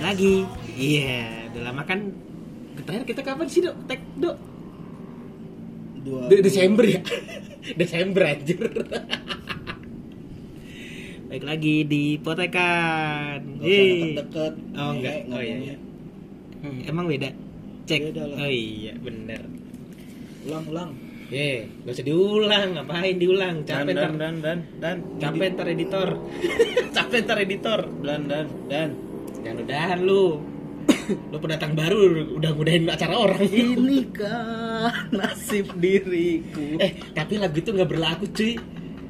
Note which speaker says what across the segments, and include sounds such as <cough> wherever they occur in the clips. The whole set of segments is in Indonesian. Speaker 1: lagi. Iya, udah lama kan terakhir kita kapan sih dok? Tek dok?
Speaker 2: Dua
Speaker 1: De- Desember ya? <laughs> Desember anjir. <laughs> Baik lagi di potekan.
Speaker 2: Gak usah
Speaker 1: Yeay.
Speaker 2: deket-deket
Speaker 1: Oh, enggak. Oh, iya,
Speaker 2: ngomongnya.
Speaker 1: Hmm, Emang beda? Cek.
Speaker 2: Beda lah.
Speaker 1: Oh iya, bener.
Speaker 2: Ulang ulang
Speaker 1: Ye, gak usah diulang, ngapain diulang?
Speaker 3: Dan
Speaker 1: Capek
Speaker 3: dan
Speaker 1: ntar,
Speaker 3: dan dan dan
Speaker 1: capek ntar
Speaker 3: <laughs>
Speaker 1: editor. capek ntar editor.
Speaker 3: dan dan dan.
Speaker 1: Jangan udahan lu. lu pendatang baru udah mudahin acara orang.
Speaker 3: Iya.
Speaker 2: Inikah nasib diriku
Speaker 1: eh, tapi lagu itu nggak berlaku, cuy.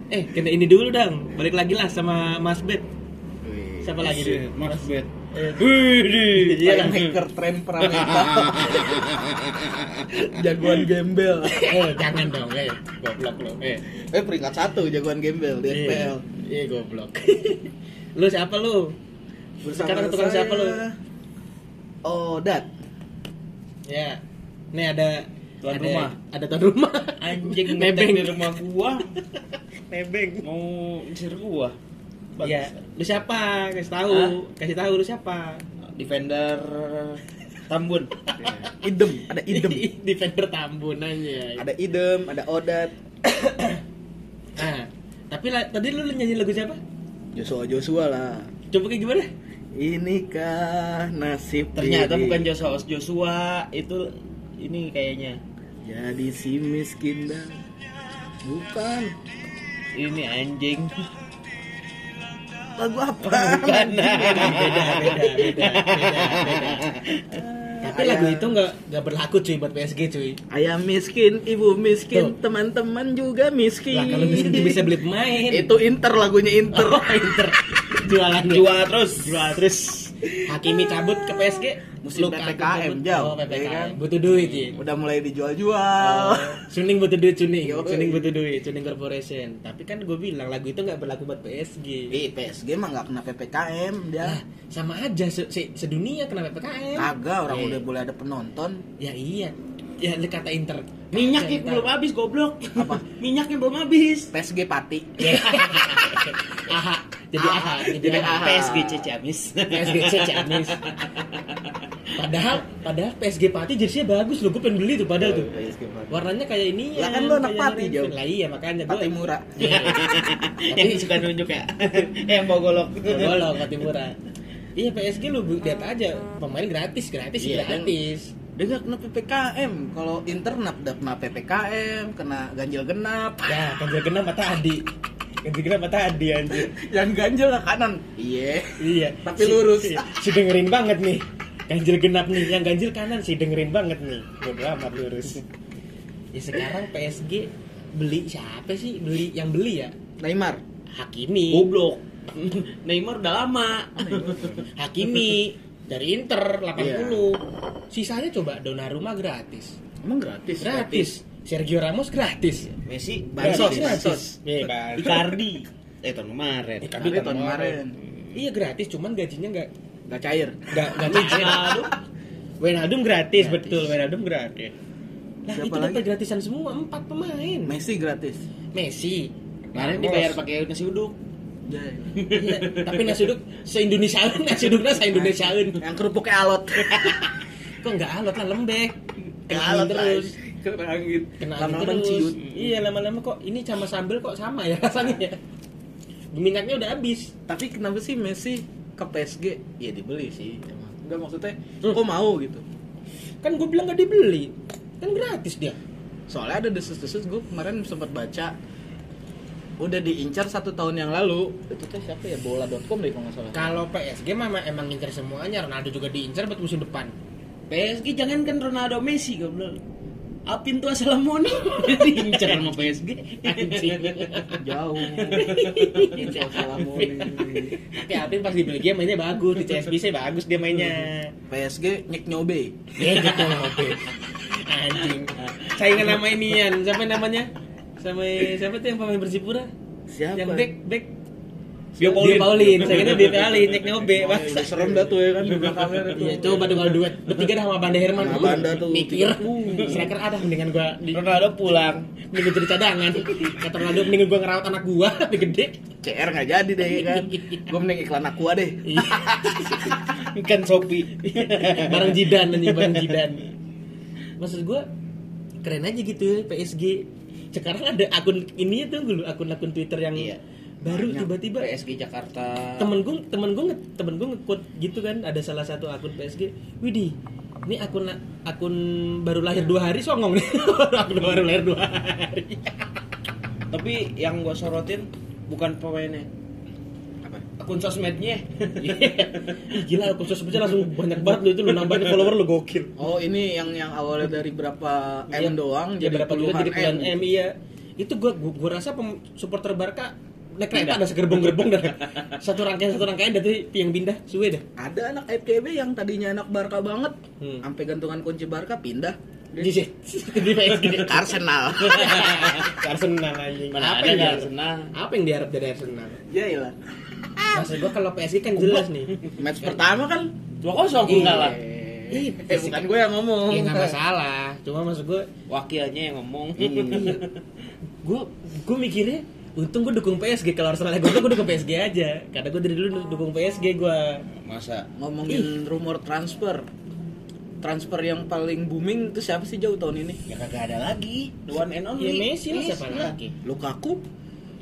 Speaker 1: Eh, kena ini dulu dang. Balik lagi lah sama Mas Bet. Siapa lagi
Speaker 3: Shit,
Speaker 1: deh?
Speaker 3: iya, Mas Bet.
Speaker 1: Wih,
Speaker 2: Iya hacker tren <laughs> Pramita Jagoan gembel
Speaker 1: <laughs> Eh, jangan dong, eh. Goblok lu. Eh,
Speaker 2: Eh peringkat satu jagoan gembel di FPL
Speaker 1: Iya, goblok. <laughs> lu siapa lu? Sekarang tukang siapa lu?
Speaker 2: Oh, dat.
Speaker 1: Ya. Nih ada
Speaker 3: Tuan
Speaker 1: ada-
Speaker 3: rumah.
Speaker 1: Ada tuan rumah. <laughs>
Speaker 3: Anjing
Speaker 1: Nebeng.
Speaker 3: nebeng di rumah
Speaker 1: <laughs>
Speaker 3: gua.
Speaker 1: Nebeng.
Speaker 3: Mau sir gua.
Speaker 1: Iya,
Speaker 3: Bagus.
Speaker 1: lu siapa? Kasih tahu,
Speaker 3: Hah?
Speaker 1: kasih tahu lu siapa?
Speaker 3: Defender Tambun.
Speaker 2: Idem, ada
Speaker 1: <laughs>
Speaker 2: idem.
Speaker 1: Defender Tambun aja.
Speaker 2: Ada idem, ada odat.
Speaker 1: Ah, tapi la- tadi lu nyanyi lagu siapa?
Speaker 2: Joshua Joshua lah.
Speaker 1: Coba kayak gimana? Iya.
Speaker 2: Inikah nasib
Speaker 3: Ternyata
Speaker 2: diri.
Speaker 3: bukan Joshua, Joshua itu ini kayaknya.
Speaker 2: Jadi si miskin dah. Bukan.
Speaker 3: Ini anjing.
Speaker 2: Lagu apa?
Speaker 3: Bukan.
Speaker 1: beda, beda, beda, beda, beda. Tapi
Speaker 2: Ayah.
Speaker 1: lagu itu nggak nggak berlaku cuy buat PSG cuy.
Speaker 2: <laughs> Ayah miskin, ibu miskin,
Speaker 1: Tuh.
Speaker 2: teman-teman juga miskin.
Speaker 1: Lah kalau bisa bisa beli pemain.
Speaker 2: Itu Inter lagunya Inter.
Speaker 1: Oh, Inter jualan
Speaker 3: Jual terus.
Speaker 1: Jual terus. Hakimi cabut ke PSG.
Speaker 2: Musim
Speaker 1: Lukaku
Speaker 2: PPKM,
Speaker 1: cabut.
Speaker 2: Jal.
Speaker 1: Oh, PPKM.
Speaker 2: Iya kan?
Speaker 1: Butuh duit ya.
Speaker 2: Udah mulai dijual-jual.
Speaker 1: Oh, Suning butuh duit Suning,
Speaker 2: Yoi.
Speaker 1: Suning butuh duit, Suning Corporation. Tapi kan gue bilang lagu itu nggak berlaku buat PSG.
Speaker 2: Eh, PSG mah nggak kena PPKM dia.
Speaker 1: Ah, sama aja se- se- sedunia kena PPKM.
Speaker 2: Kagak orang
Speaker 1: Eh,
Speaker 2: udah boleh ada penonton.
Speaker 1: Ya iya. Ya lu kata Inter.
Speaker 3: Minyaknya
Speaker 1: Kata Inter.
Speaker 3: ya, belum habis goblok. <laughs>
Speaker 2: Apa?
Speaker 3: Minyaknya belum habis.
Speaker 2: PSG Pati.
Speaker 1: Ya. <laughs> Aha, jadi aha, jadi
Speaker 2: Jadi
Speaker 1: aha.
Speaker 2: aha.
Speaker 3: PSG Cicamis.
Speaker 1: PSG
Speaker 3: <laughs>
Speaker 1: Ciamis. Padahal padahal PSG Pati jersinya bagus loh, gue pengen beli tuh padahal
Speaker 3: Iya,
Speaker 1: tuh.
Speaker 2: PSG Pati.
Speaker 1: Warnanya kayak ini
Speaker 2: Lah kan lu anak Pati, Jauh.
Speaker 1: Lah iya makanya Iya.
Speaker 2: Pati
Speaker 1: gue.
Speaker 2: murah.
Speaker 3: <laughs> Yang suka nunjuk
Speaker 1: <laughs>
Speaker 3: ya. Eh, yang bawa golok.
Speaker 1: Golong ke Timura. Iya PSG lu bu- lihat aja pemain gratis gratis
Speaker 3: Iya, kan?
Speaker 1: gratis.
Speaker 2: Dia nggak kena PPKM. Kalau Inter nap udah kena PPKM, kena ganjil genap.
Speaker 1: Ya ganjil genap mata tadi. Ganjil genap mata tadi anjir.
Speaker 2: <laughs> Yang ganjil ke kanan. Iya.
Speaker 1: Iya.
Speaker 2: Tapi lurus.
Speaker 1: Si, si dengerin banget nih. Ganjil genap nih, yang ganjil kanan sih dengerin banget nih. Bodo amat lurus. Ya sekarang PSG beli siapa sih? Beli yang beli ya?
Speaker 2: Neymar.
Speaker 1: Hakimi.
Speaker 3: Goblok. Neymar udah lama.
Speaker 1: Hakimi dari Inter 80. Sisanya coba Donnarumma gratis.
Speaker 2: Emang gratis.
Speaker 1: Gratis. Sergio Ramos gratis.
Speaker 3: Messi
Speaker 2: Bansos,
Speaker 3: bansos.
Speaker 2: bansos.
Speaker 1: Iya, bansos.
Speaker 3: Icardi. Eh tahun kemarin.
Speaker 1: Icardi.
Speaker 2: Tapi tahun kemarin
Speaker 1: Iya gratis, cuman gajinya nggak
Speaker 2: nggak cair.
Speaker 1: nggak nggak micin.
Speaker 3: Ronaldo.
Speaker 1: Wijnaldum gratis, betul. Wijnaldum gratis. Nah
Speaker 2: Siapa
Speaker 1: itu
Speaker 2: lagi?
Speaker 1: dapat gratisan semua empat pemain.
Speaker 2: Messi gratis.
Speaker 1: Messi.
Speaker 3: Kemarin
Speaker 1: Ramos.
Speaker 3: dibayar pakai nasi uduk.
Speaker 2: <laughs> Jai.
Speaker 1: Iya, tapi nasi uduk se-Indonesiaeun, <laughs> nasi uduknya se-Indonesiaeun.
Speaker 2: Yang kerupuknya <laughs> alot.
Speaker 1: Kok nggak alot lah lembek. Kena angin
Speaker 2: Alot,
Speaker 1: terus.
Speaker 2: anjing. Kena angin.
Speaker 1: Kena angin
Speaker 2: Lama-lama
Speaker 1: terus.
Speaker 2: ciut.
Speaker 1: Iya lama-lama kok ini sama sambel kok sama ya rasanya. ya. Minyaknya udah habis.
Speaker 2: Tapi kenapa sih Messi ke PSG? Ya dibeli sih. emang. Enggak maksudnya,
Speaker 1: Hmm.
Speaker 2: kok mau gitu?
Speaker 1: Kan gue bilang gak dibeli. Kan gratis dia.
Speaker 2: Soalnya ada desas-desus gue kemarin sempat baca udah diincar satu tahun yang lalu. Itu teh siapa ya? Bola.com deh kalau nggak salah.
Speaker 1: Kalau PSG mah emang- emang ngincer semuanya, Ronaldo juga diincer buat musim depan.
Speaker 3: PSG jangan kan Ronaldo Messi goblok. Apin tuh asal mono
Speaker 1: <laughs>
Speaker 3: diincar sama PSG.
Speaker 2: <laughs> Jauh. <laughs>
Speaker 1: Tapi Alvin pas di Belgia mainnya bagus, di CSBC bagus dia mainnya.
Speaker 2: PSG nyek nyobe.
Speaker 1: Ya gitu Hobe. Anjing. Saingan sama inian, siapa namanya? Sama siapa tuh yang pemain Persipura?
Speaker 2: Siapa?
Speaker 1: Yang back back
Speaker 3: Dia
Speaker 1: Dia Paulin, saingannya dia Paulin, nyek nyobe.
Speaker 2: Udah serem dah tuh ya kan di belakangnya tuh.
Speaker 1: Iya coba tuh kalau duet bertiga dah sama Banda Herman.
Speaker 2: Sama Banda tuh.
Speaker 1: Mikir. <laughs> Striker ada mendingan gua di
Speaker 3: Ronaldo pulang.
Speaker 1: mendingan jadi cadangan. Kata Ronaldo mendingan gua <laughs> ngerawat anak gua lebih gede.
Speaker 2: CR nggak jadi deh ya
Speaker 1: <laughs>
Speaker 2: kan gue mending iklan aku deh
Speaker 1: Iya. Ikan sopi.
Speaker 3: barang jidan anjing barang jidan
Speaker 1: Maksud gua keren aja gitu ya PSG. Sekarang ada akun ini tuh dulu akun-akun Twitter yang
Speaker 2: Iya.
Speaker 1: baru
Speaker 2: Banyak.
Speaker 1: tiba-tiba
Speaker 3: PSG Jakarta
Speaker 1: temen gue temen gue nge- temen gue nge-quote gitu kan ada salah satu akun PSG Widih ini akun akun baru lahir dua hari songong nih <laughs> akun baru lahir dua hari
Speaker 3: <laughs> tapi yang gue sorotin bukan pemainnya
Speaker 2: Apa?
Speaker 3: akun sosmednya
Speaker 1: <laughs> Ih, gila akun
Speaker 3: <laughs>
Speaker 1: sosmednya langsung banyak banget lu itu lu nambahin follower lu gokil
Speaker 2: oh ini yang yang awalnya dari berapa m
Speaker 1: Iya.
Speaker 2: doang
Speaker 1: Iya,
Speaker 2: jadi
Speaker 1: berapa juta
Speaker 2: puluhan
Speaker 1: jadi puluhan
Speaker 2: m,
Speaker 1: M, iya itu gue gua, gua rasa pem, supporter Barca naik kereta ada segerbong-gerbong dah satu rangkaian satu rangkaian dah tuh yang pindah suwe dah
Speaker 2: ada anak FCB yang tadinya anak Barca banget
Speaker 1: Hmm.
Speaker 2: sampai gantungan kunci Barca pindah
Speaker 1: di di PSG
Speaker 2: ke <laughs> Arsenal
Speaker 1: Ke Arsenal anjing
Speaker 3: Mana
Speaker 1: apa
Speaker 3: ada nggak
Speaker 1: yang di-
Speaker 3: Arsenal?
Speaker 1: apa yang diharap dari Arsenal
Speaker 2: Yailah
Speaker 3: Ah.
Speaker 1: Maksud gua kalau PSG kan jelas
Speaker 3: <laughs>
Speaker 1: nih.
Speaker 2: iya. match pertama kan
Speaker 3: dua kosong kalah
Speaker 2: eh,
Speaker 1: Ih,
Speaker 2: eh, bukan gue yang ngomong
Speaker 1: Ya nggak masalah. Cuma maksud gua
Speaker 3: wakilnya yang ngomong
Speaker 1: iya. gua gua mikirnya untung gua dukung PSG kalau Arsenal gua untung gua dukung PSG aja. Karena gua dari dulu
Speaker 3: Ah.
Speaker 1: dukung PSG gua.
Speaker 3: <laughs> masa
Speaker 2: <laughs> ngomongin rumor transfer transfer yang paling booming itu siapa sih jauh tahun
Speaker 3: ya
Speaker 2: ini
Speaker 3: kagak ada lagi the one and
Speaker 1: Ya
Speaker 3: only
Speaker 1: Messi lah siapa
Speaker 3: lah. Ya.
Speaker 1: lagi?
Speaker 2: Lukaku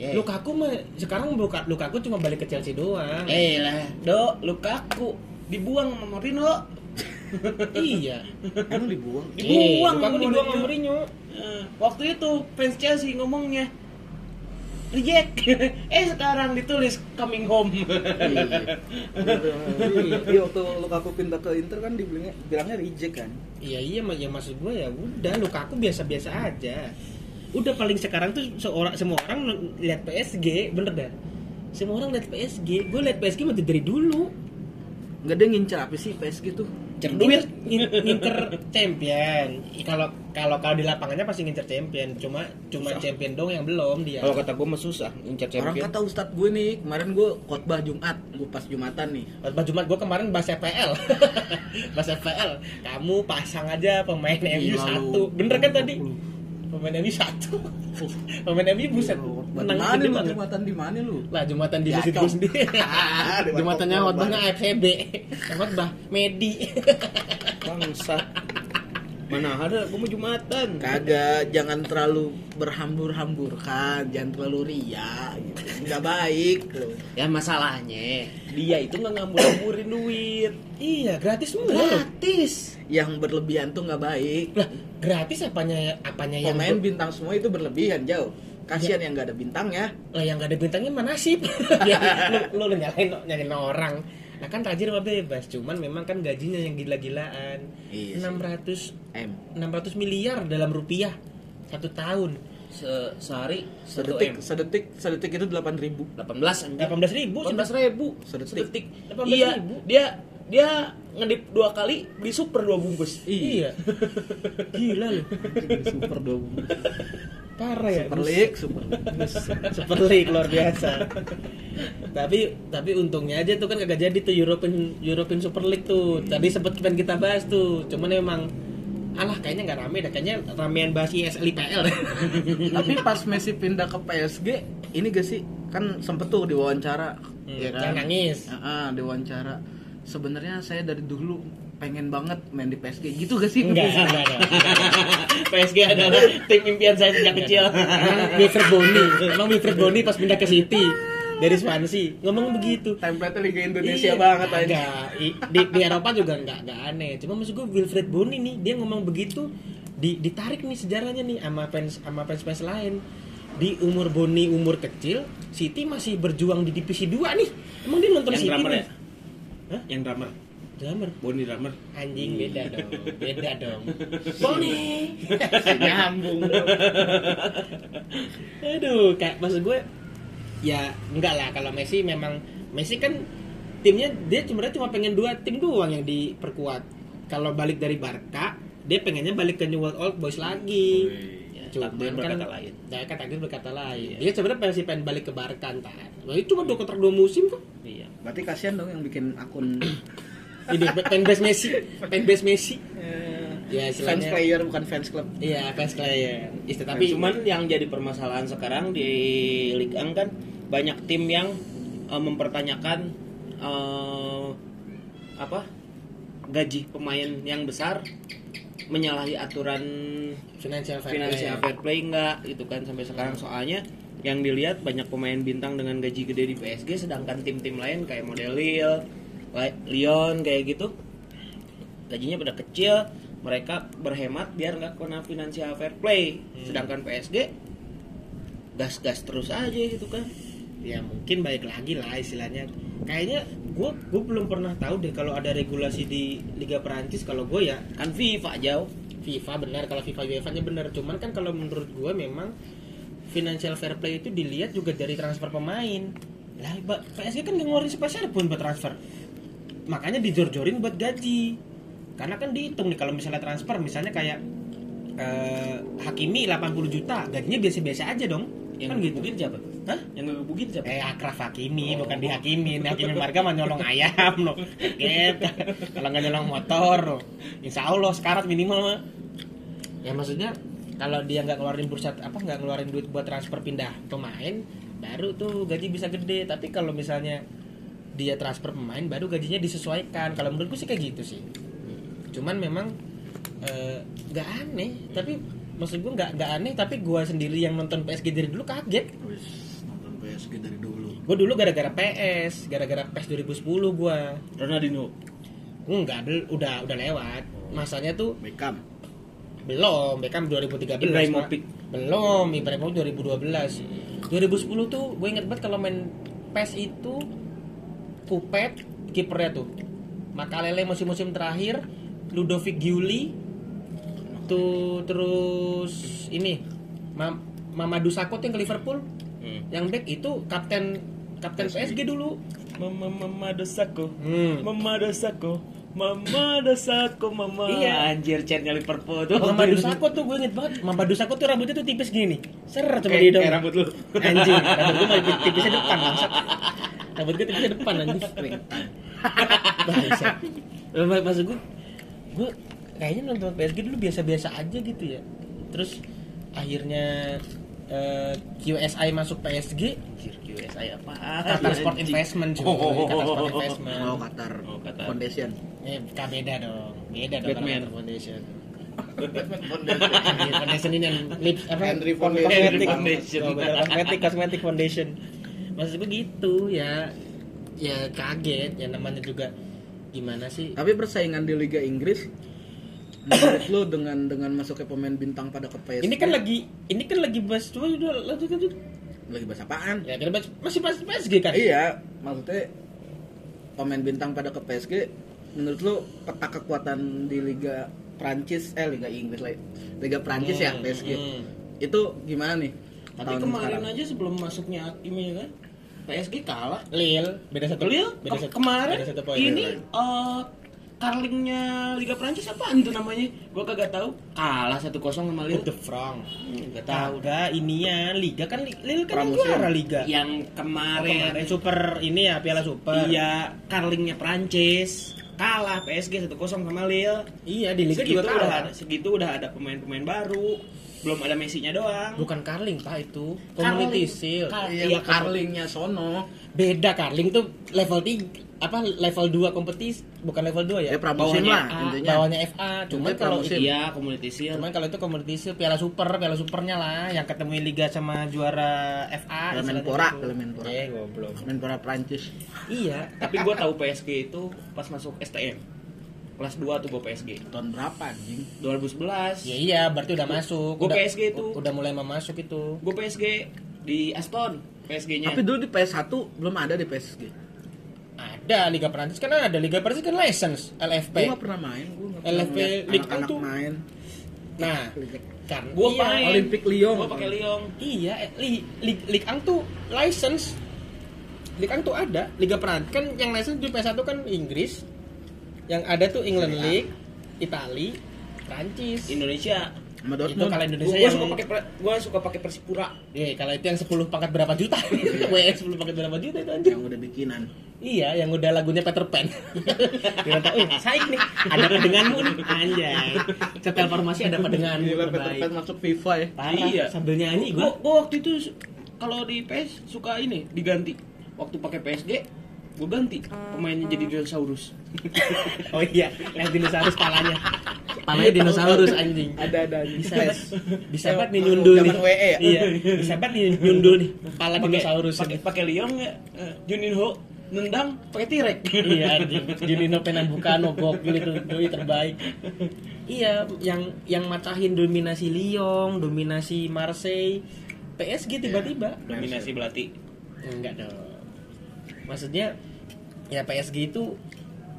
Speaker 3: Yeah.
Speaker 1: Lukaku mah sekarang buka Lukaku cuma balik ke Chelsea doang. Iya.
Speaker 3: eh lah do Lukaku dibuang sama Mourinho
Speaker 1: iya.
Speaker 2: emang dibuang
Speaker 3: dibuang
Speaker 1: Eh,
Speaker 3: sama
Speaker 1: Lukaku dibuang sama
Speaker 3: Mourinho
Speaker 1: Mourinho.
Speaker 3: Eh, waktu itu fans Chelsea ngomongnya reject <laughs> eh sekarang ditulis coming home
Speaker 2: Iya, waktu Lukaku pindah ke Inter kan dibilangnya bilangnya reject kan.
Speaker 1: Iya iya ma- ya maksud gue ya udah Lukaku biasa-biasa aja. Udah paling sekarang tuh seorang semua orang lihat PSG bener dah. Semua orang lihat PSG. Gue lihat PSG waktu dari dulu.
Speaker 2: Enggak ada yang ngincer apa sih PSG tuh?
Speaker 1: Ngincer, ngin- ngincer champion. I- Kalau kalau kalau di lapangannya pasti ngincer champion. Cuma cuma champion dong yang belum dia.
Speaker 3: kalau kata gue mah susah incar
Speaker 2: Orang
Speaker 3: champion
Speaker 2: kata ustadz gue nih, kemarin gue khotbah Jumat, gue pas Jumatan nih.
Speaker 1: Pas Jumat gue kemarin bahas FPL. <laughs> bahas FPL. Kamu pasang aja pemain MU
Speaker 2: Gila Iya, lu.
Speaker 1: satu. Bener kan tadi? Pemain MU satu. pemain MU buset.
Speaker 2: Oh, Khotbah di
Speaker 1: Menang
Speaker 2: mana
Speaker 1: gede
Speaker 2: Uh. lu
Speaker 1: banget.
Speaker 2: Jumatan di mana lu?
Speaker 1: lah jumatan di
Speaker 2: Ya,
Speaker 1: masjid
Speaker 2: Cong.
Speaker 1: gue
Speaker 2: <laughs>
Speaker 1: sendiri
Speaker 2: Ah, di
Speaker 1: <laughs> jumatannya
Speaker 2: Bangkok,
Speaker 1: khotbahnya
Speaker 2: Bang.
Speaker 1: AFCB Yang khotbah
Speaker 2: <laughs>
Speaker 1: Medi
Speaker 3: kan- bangsa mana
Speaker 2: Iya.
Speaker 3: ada gue mau jumatan
Speaker 2: Kagak, jangan terlalu berhambur-hamburkan, jangan terlalu ria, gitu. nggak baik loh.
Speaker 3: ya masalahnya dia itu nggak ngambur ngamburin duit
Speaker 1: iya gratis semua loh.
Speaker 3: gratis
Speaker 2: Yang berlebihan tuh nggak baik.
Speaker 1: lah gratis apanya apanya yang
Speaker 2: Pemain bintang semua itu berlebihan jauh. Kasihan yang nggak ada ya, bintangnya.
Speaker 1: lah yang gak ada bintangnya mana sih <laughs> Ya, lu, lu nyalain nyalain orang nah kan tajir mah bebas cuman memang kan gajinya yang gila-gilaan
Speaker 2: Iya sih.
Speaker 1: 600
Speaker 2: M.
Speaker 1: 600 miliar dalam rupiah satu tahun
Speaker 3: Se sehari satu m
Speaker 2: Sedetik, sedetik, sedetik itu 8000 ribu.
Speaker 3: delapan belas
Speaker 1: 18 ribu
Speaker 2: Oh,
Speaker 3: delapan belas ribu
Speaker 2: Sedetik.
Speaker 1: Delapan belas
Speaker 3: iya
Speaker 1: ribu.
Speaker 3: dia dia ngedip dua kali beli super dua bungkus
Speaker 2: <laughs>
Speaker 1: iya <laughs> gila lu
Speaker 2: Super dong.
Speaker 1: parah ya
Speaker 2: Super League, Super League.
Speaker 1: Super League luar biasa. tapi tapi untungnya aja tuh kan kagak jadi tuh European European Super League tuh. Tadi
Speaker 2: Hmm.
Speaker 1: sempet pengen kita bahas tuh. Cuman emang alah kayaknya nggak rame dah. Kayaknya ramean bahas ISL <laughs> IPL. Hmm,
Speaker 2: Tapi pas Messi pindah ke PSG, ini gak sih kan sempet tuh diwawancara, ya kan?
Speaker 1: Jangan nangis.
Speaker 2: Ah, diwawancara. Sebenarnya saya dari dulu pengen banget main di PSG. Gitu gak sih?
Speaker 1: Enggak, enggak, enggak.
Speaker 3: PSG adalah tim impian saya sejak kecil
Speaker 1: Emang Wilfred Boni, emang Wilfred Boni pas pindah ke City dari Swansea ngomong begitu.
Speaker 2: Template Liga Indonesia
Speaker 1: Iya,
Speaker 2: banget aja.
Speaker 1: Enggak, I- di, di Eropa juga enggak enggak aneh. Cuma maksud gue Wilfred Boni nih dia ngomong begitu di- ditarik nih sejarahnya nih sama fans sama fans fans lain. Di umur Boni umur kecil, City masih berjuang di divisi 2 nih. Emang dia nonton
Speaker 4: yang
Speaker 1: City
Speaker 4: drummer
Speaker 1: nih?
Speaker 4: ya? Yang drummer,
Speaker 1: Drummer.
Speaker 4: Boni drummer.
Speaker 1: Anjing beda dong, beda dong. Boni. <laughs>
Speaker 2: Nyambung.
Speaker 1: Aduh, kayak maksud gue ya enggak lah kalau Messi memang Messi kan timnya dia sebenarnya cuma pengen dua tim doang yang diperkuat. Kalau balik dari Barca, dia pengennya balik ke New World Old Boys lagi.
Speaker 4: Wih.
Speaker 1: Cuman
Speaker 4: Takdir berkata lain.
Speaker 1: Nah, kata dia berkata lain. Dia sebenarnya pengen sih pengen balik ke Barca entar. Nah, itu cuma dua kontrak dua musim kok.
Speaker 3: iya
Speaker 2: Berarti kasihan dong yang bikin akun
Speaker 1: Ini fanbase Messi, fanbase Messi.
Speaker 2: eh,
Speaker 1: Ya,
Speaker 2: fans
Speaker 1: istilahnya.
Speaker 2: player bukan fans club.
Speaker 1: Iya, fans player. Isti-
Speaker 3: tapi
Speaker 1: tapi
Speaker 3: cuman yang jadi permasalahan sekarang di Liga kan
Speaker 4: banyak tim yang eh, mempertanyakan eh, apa gaji pemain yang besar menyalahi aturan
Speaker 1: Financial fair play.
Speaker 4: finansial fair play enggak gitu kan sampai sekarang soalnya yang dilihat banyak pemain bintang dengan gaji gede di PSG sedangkan tim-tim lain kayak model Lille, Li- Lyon kayak gitu gajinya pada kecil mereka berhemat biar nggak kena finansial fair play sedangkan PSG gas-gas terus aja gitu kan
Speaker 1: ya mungkin baik lagi lah istilahnya kayaknya gue gue belum pernah tahu deh kalau ada regulasi di Liga Perancis kalau gue ya
Speaker 4: kan FIFA jauh
Speaker 1: FIFA benar kalau FIFA UEFA nya benar cuman kan kalau menurut gue memang financial fair play itu dilihat juga dari transfer pemain lah Ba- PSG kan gak ngeluarin sepeser pun buat transfer makanya dijor-jorin buat gaji karena kan dihitung nih kalau misalnya transfer misalnya kayak eh, Hakimi 80 juta gajinya biasa-biasa aja dong
Speaker 4: yang
Speaker 1: kan gitu
Speaker 4: mungkin siapa
Speaker 1: Hah?
Speaker 4: yang ngegebukin siapa
Speaker 1: Eh Akraf Hakimi bukan dihakimin Hakimin warga mah nyolong ayam loh Kaget Kalau nggak nyolong motor loh Insya Allah sekarat minimal mah Ya maksudnya kalau dia nggak ngeluarin bursa apa nggak ngeluarin duit buat transfer pindah pemain baru tuh gaji bisa gede tapi kalau misalnya dia transfer pemain baru gajinya disesuaikan kalau menurutku sih kayak gitu sih cuman memang eh, nggak aneh tapi maksud gue nggak nggak aneh tapi gua sendiri yang nonton PSG dari dulu kaget
Speaker 2: Wis, nonton PSG dari dulu.
Speaker 1: Gue dulu gara-gara PS, gara-gara PS 2010 gue.
Speaker 4: Ronaldinho
Speaker 1: Enggak, del- udah udah lewat. Masanya tuh
Speaker 2: Beckham.
Speaker 1: belum, ya kan Beckham 2013.
Speaker 4: Ibrahimovic.
Speaker 1: Pak. Belum, Ibrahimovic 2012. 2010 tuh gue inget banget kalau main PES itu Kupet kipernya tuh. Makalele musim-musim terakhir, Ludovic Giuli tuh terus ini Mam Mamadou Sakho tuh yang ke Liverpool.
Speaker 4: hmm.
Speaker 1: Yang back itu kapten kapten PSG dulu.
Speaker 4: mama mama dosaku
Speaker 1: Hmm.
Speaker 4: mama dosaku mama dosaku mama
Speaker 1: Iya.
Speaker 4: anjir chatnya Liverpool tuh
Speaker 1: Mama Dusako tuh gue inget banget. Mama Dusako tuh rambutnya tuh tipis gini. nih. Ser coba
Speaker 4: kayak,
Speaker 1: di dong.
Speaker 4: kayak rambut lu
Speaker 1: Anjing, rambut gue masih tipisnya depan bangsat. Rambut gue tipisnya depan anjing. Bangsat.
Speaker 4: Eh,
Speaker 1: Mak- Maksud gue, gue kayaknya nonton PSG dulu biasa-biasa aja gitu ya. Terus akhirnya eh, QSI masuk PSG,
Speaker 4: anjir QSI apa Iya,
Speaker 1: Qatar Sport Investment cuy.
Speaker 4: Oh, oh, oh,
Speaker 1: Qatar Sport
Speaker 4: oh, oh, oh.
Speaker 1: Investment.
Speaker 2: Mau Qatar.
Speaker 4: Oh, Qatar.
Speaker 2: Foundation.
Speaker 1: Eh, bukan beda dong. Beda dong kalau
Speaker 4: Batman.
Speaker 1: Qatar Foundation.
Speaker 2: Foundation.
Speaker 1: Henry Iya, Foundation ini yang lips apa?
Speaker 2: Henry Foundation.
Speaker 1: Kosmetik.
Speaker 2: Henry
Speaker 4: Foundation.
Speaker 1: Oh, bener, Kosmetik, kosmetik foundation. Maksud gue gitu ya. Ya kaget, ya namanya juga gimana sih?
Speaker 2: Tapi persaingan di Liga Inggris menurut lu dengan dengan masuknya pemain bintang pada ke PSG
Speaker 1: Ini kan lagi, ini kan lagi bahas cuma udah lanjut lanjut.
Speaker 2: lagi bahas apaan?
Speaker 1: Ya kita bahas- masih bahas PSG kan?
Speaker 2: Iya, maksudnya pemain bintang pada ke PSG menurut lu peta kekuatan di Liga Prancis eh Liga Inggris lah. Liga Prancis ya
Speaker 1: Hmm,
Speaker 2: PSG.
Speaker 1: hmm.
Speaker 2: Itu gimana nih?
Speaker 4: tapi
Speaker 2: tahun
Speaker 4: kemarin
Speaker 2: sekarang?
Speaker 1: Iya,
Speaker 4: aja sebelum masuknya ini kan PSG kalah
Speaker 1: Lil, beda satu.
Speaker 4: Lille
Speaker 1: beda
Speaker 4: ke-
Speaker 1: satu-
Speaker 4: kemarin
Speaker 1: beda satu poin.
Speaker 4: ini eh Carlingnya Liga Prancis apaan tuh namanya? Gua kagak tahu. Kalah 1-0 sama
Speaker 1: Lil
Speaker 4: Lille.
Speaker 1: the Frank.
Speaker 4: Enggak tahu.
Speaker 1: Kagak ininya liga kan Li- Lil kan yang
Speaker 2: Pramusim.
Speaker 1: Kan juara liga.
Speaker 4: Yang
Speaker 1: Oh, kemarin
Speaker 4: kemarin,
Speaker 1: super ini ya Piala Super.
Speaker 4: iya Carlingnya Prancis kalah PSG 1-0 sama Lille.
Speaker 1: Iya, di liga
Speaker 4: segitu
Speaker 1: juga
Speaker 4: udah
Speaker 1: kalah.
Speaker 4: ada, segitu udah ada pemain-pemain baru. Belum ada Messi-nya doang.
Speaker 1: Bukan Carling pak itu Community
Speaker 4: Carling.
Speaker 1: Shield
Speaker 4: Car-
Speaker 2: iya,
Speaker 4: iya,
Speaker 2: Carlingnya sono.
Speaker 1: Beda Carling tuh level 3 Apa level 2 kompetis Bukan level 2 ya
Speaker 2: Ya pramusim
Speaker 4: bawahnya
Speaker 2: lah
Speaker 1: A,
Speaker 2: intinya.
Speaker 1: Bawahnya FA Cuman
Speaker 2: Intinya
Speaker 1: kalau
Speaker 2: pramusim.
Speaker 4: Iya, Community Shield.
Speaker 1: Cuman kalau itu Community Shield Piala Super Piala Supernya lah Yang ketemu Liga sama juara FA
Speaker 2: Piala
Speaker 1: istilahnya
Speaker 2: Menpora,
Speaker 1: gitu.
Speaker 2: Piala Menpora.
Speaker 1: Eh, goblok
Speaker 2: Pemain para Prancis.
Speaker 1: Iya
Speaker 4: Tapi gua tahu PSG itu pas masuk STM. Kelas 2 tuh gua PSG.
Speaker 2: Tahun berapa anjing?
Speaker 4: 2011.
Speaker 1: Ya iya berarti udah masuk
Speaker 4: Gua
Speaker 1: udah,
Speaker 4: PSG itu.
Speaker 1: Udah mulai memasuk itu
Speaker 4: gue PSG di Aston PSG-nya
Speaker 2: Tapi dulu di PS1 belum ada di PSG.
Speaker 1: Ada Liga Perancis kan ada Liga Perancis kan license LFP
Speaker 2: Gue gak pernah main, gue gak pernah
Speaker 1: LFP
Speaker 2: lihat
Speaker 1: League
Speaker 2: anak-anak
Speaker 1: itu.
Speaker 2: main.
Speaker 1: Nah kan
Speaker 4: gue
Speaker 1: iya.
Speaker 4: main
Speaker 2: Olympic Lyon.
Speaker 4: gue pakai Lyon
Speaker 1: Iya, eh, li, li, Lig Ang tuh license. Lig Ang tuh ada, Liga Perancis kan yang license di PS1 kan Inggris. Yang ada tuh England
Speaker 2: Serie A.
Speaker 1: League, Itali, Prancis.
Speaker 4: Indonesia
Speaker 2: Sama
Speaker 1: Itu
Speaker 2: Dortmund.
Speaker 1: kalau Indonesia
Speaker 4: gue
Speaker 1: yang
Speaker 4: suka pakai gue suka pakai Persipura
Speaker 1: Iya, kalau itu yang 10 pangkat berapa juta?
Speaker 2: Iya.
Speaker 1: WS 10 pangkat berapa juta itu anjir.
Speaker 2: yang udah bikinan.
Speaker 1: Iya, yang udah lagunya Peter Pan. Dia tahu, "Eh, saik nih. Ada apa denganmu nih?" Anjay. Setel formasi ada apa denganmu?
Speaker 2: Gila Peter
Speaker 1: Terbaik.
Speaker 2: Pan masuk FIFA ya.
Speaker 1: Parah,
Speaker 4: Iya. <laughs>
Speaker 1: sambil nyanyi
Speaker 4: gue
Speaker 1: gua.
Speaker 4: gue waktu itu kalau di PS suka ini diganti. Waktu pakai PSG gue ganti pemainnya jadi dinosaurus.
Speaker 1: Oh iya, yang dinosaurus palanya. Palanya
Speaker 4: Iya,
Speaker 1: dinosaurus anjing.
Speaker 2: ada ada
Speaker 1: Bisa <laughs> bisa banget nih nyundul nih.
Speaker 2: Zaman WE ya?
Speaker 1: Iya, bisa banget nih nyundul nih pala
Speaker 4: Pakai-
Speaker 1: dinosaurus.
Speaker 4: Pakai pakai Leon nggak? Eh, Junin Ho nendang pakai T-Rex.
Speaker 1: Iya anjing. Junino Pernambucano gokil itu doi terbaik. Iya, yang yang macahin dominasi Lyon, dominasi Marseille, PSG tiba-tiba.
Speaker 4: <laughs> Dominasi belati.
Speaker 1: Enggak dong. Maksudnya ya PSG itu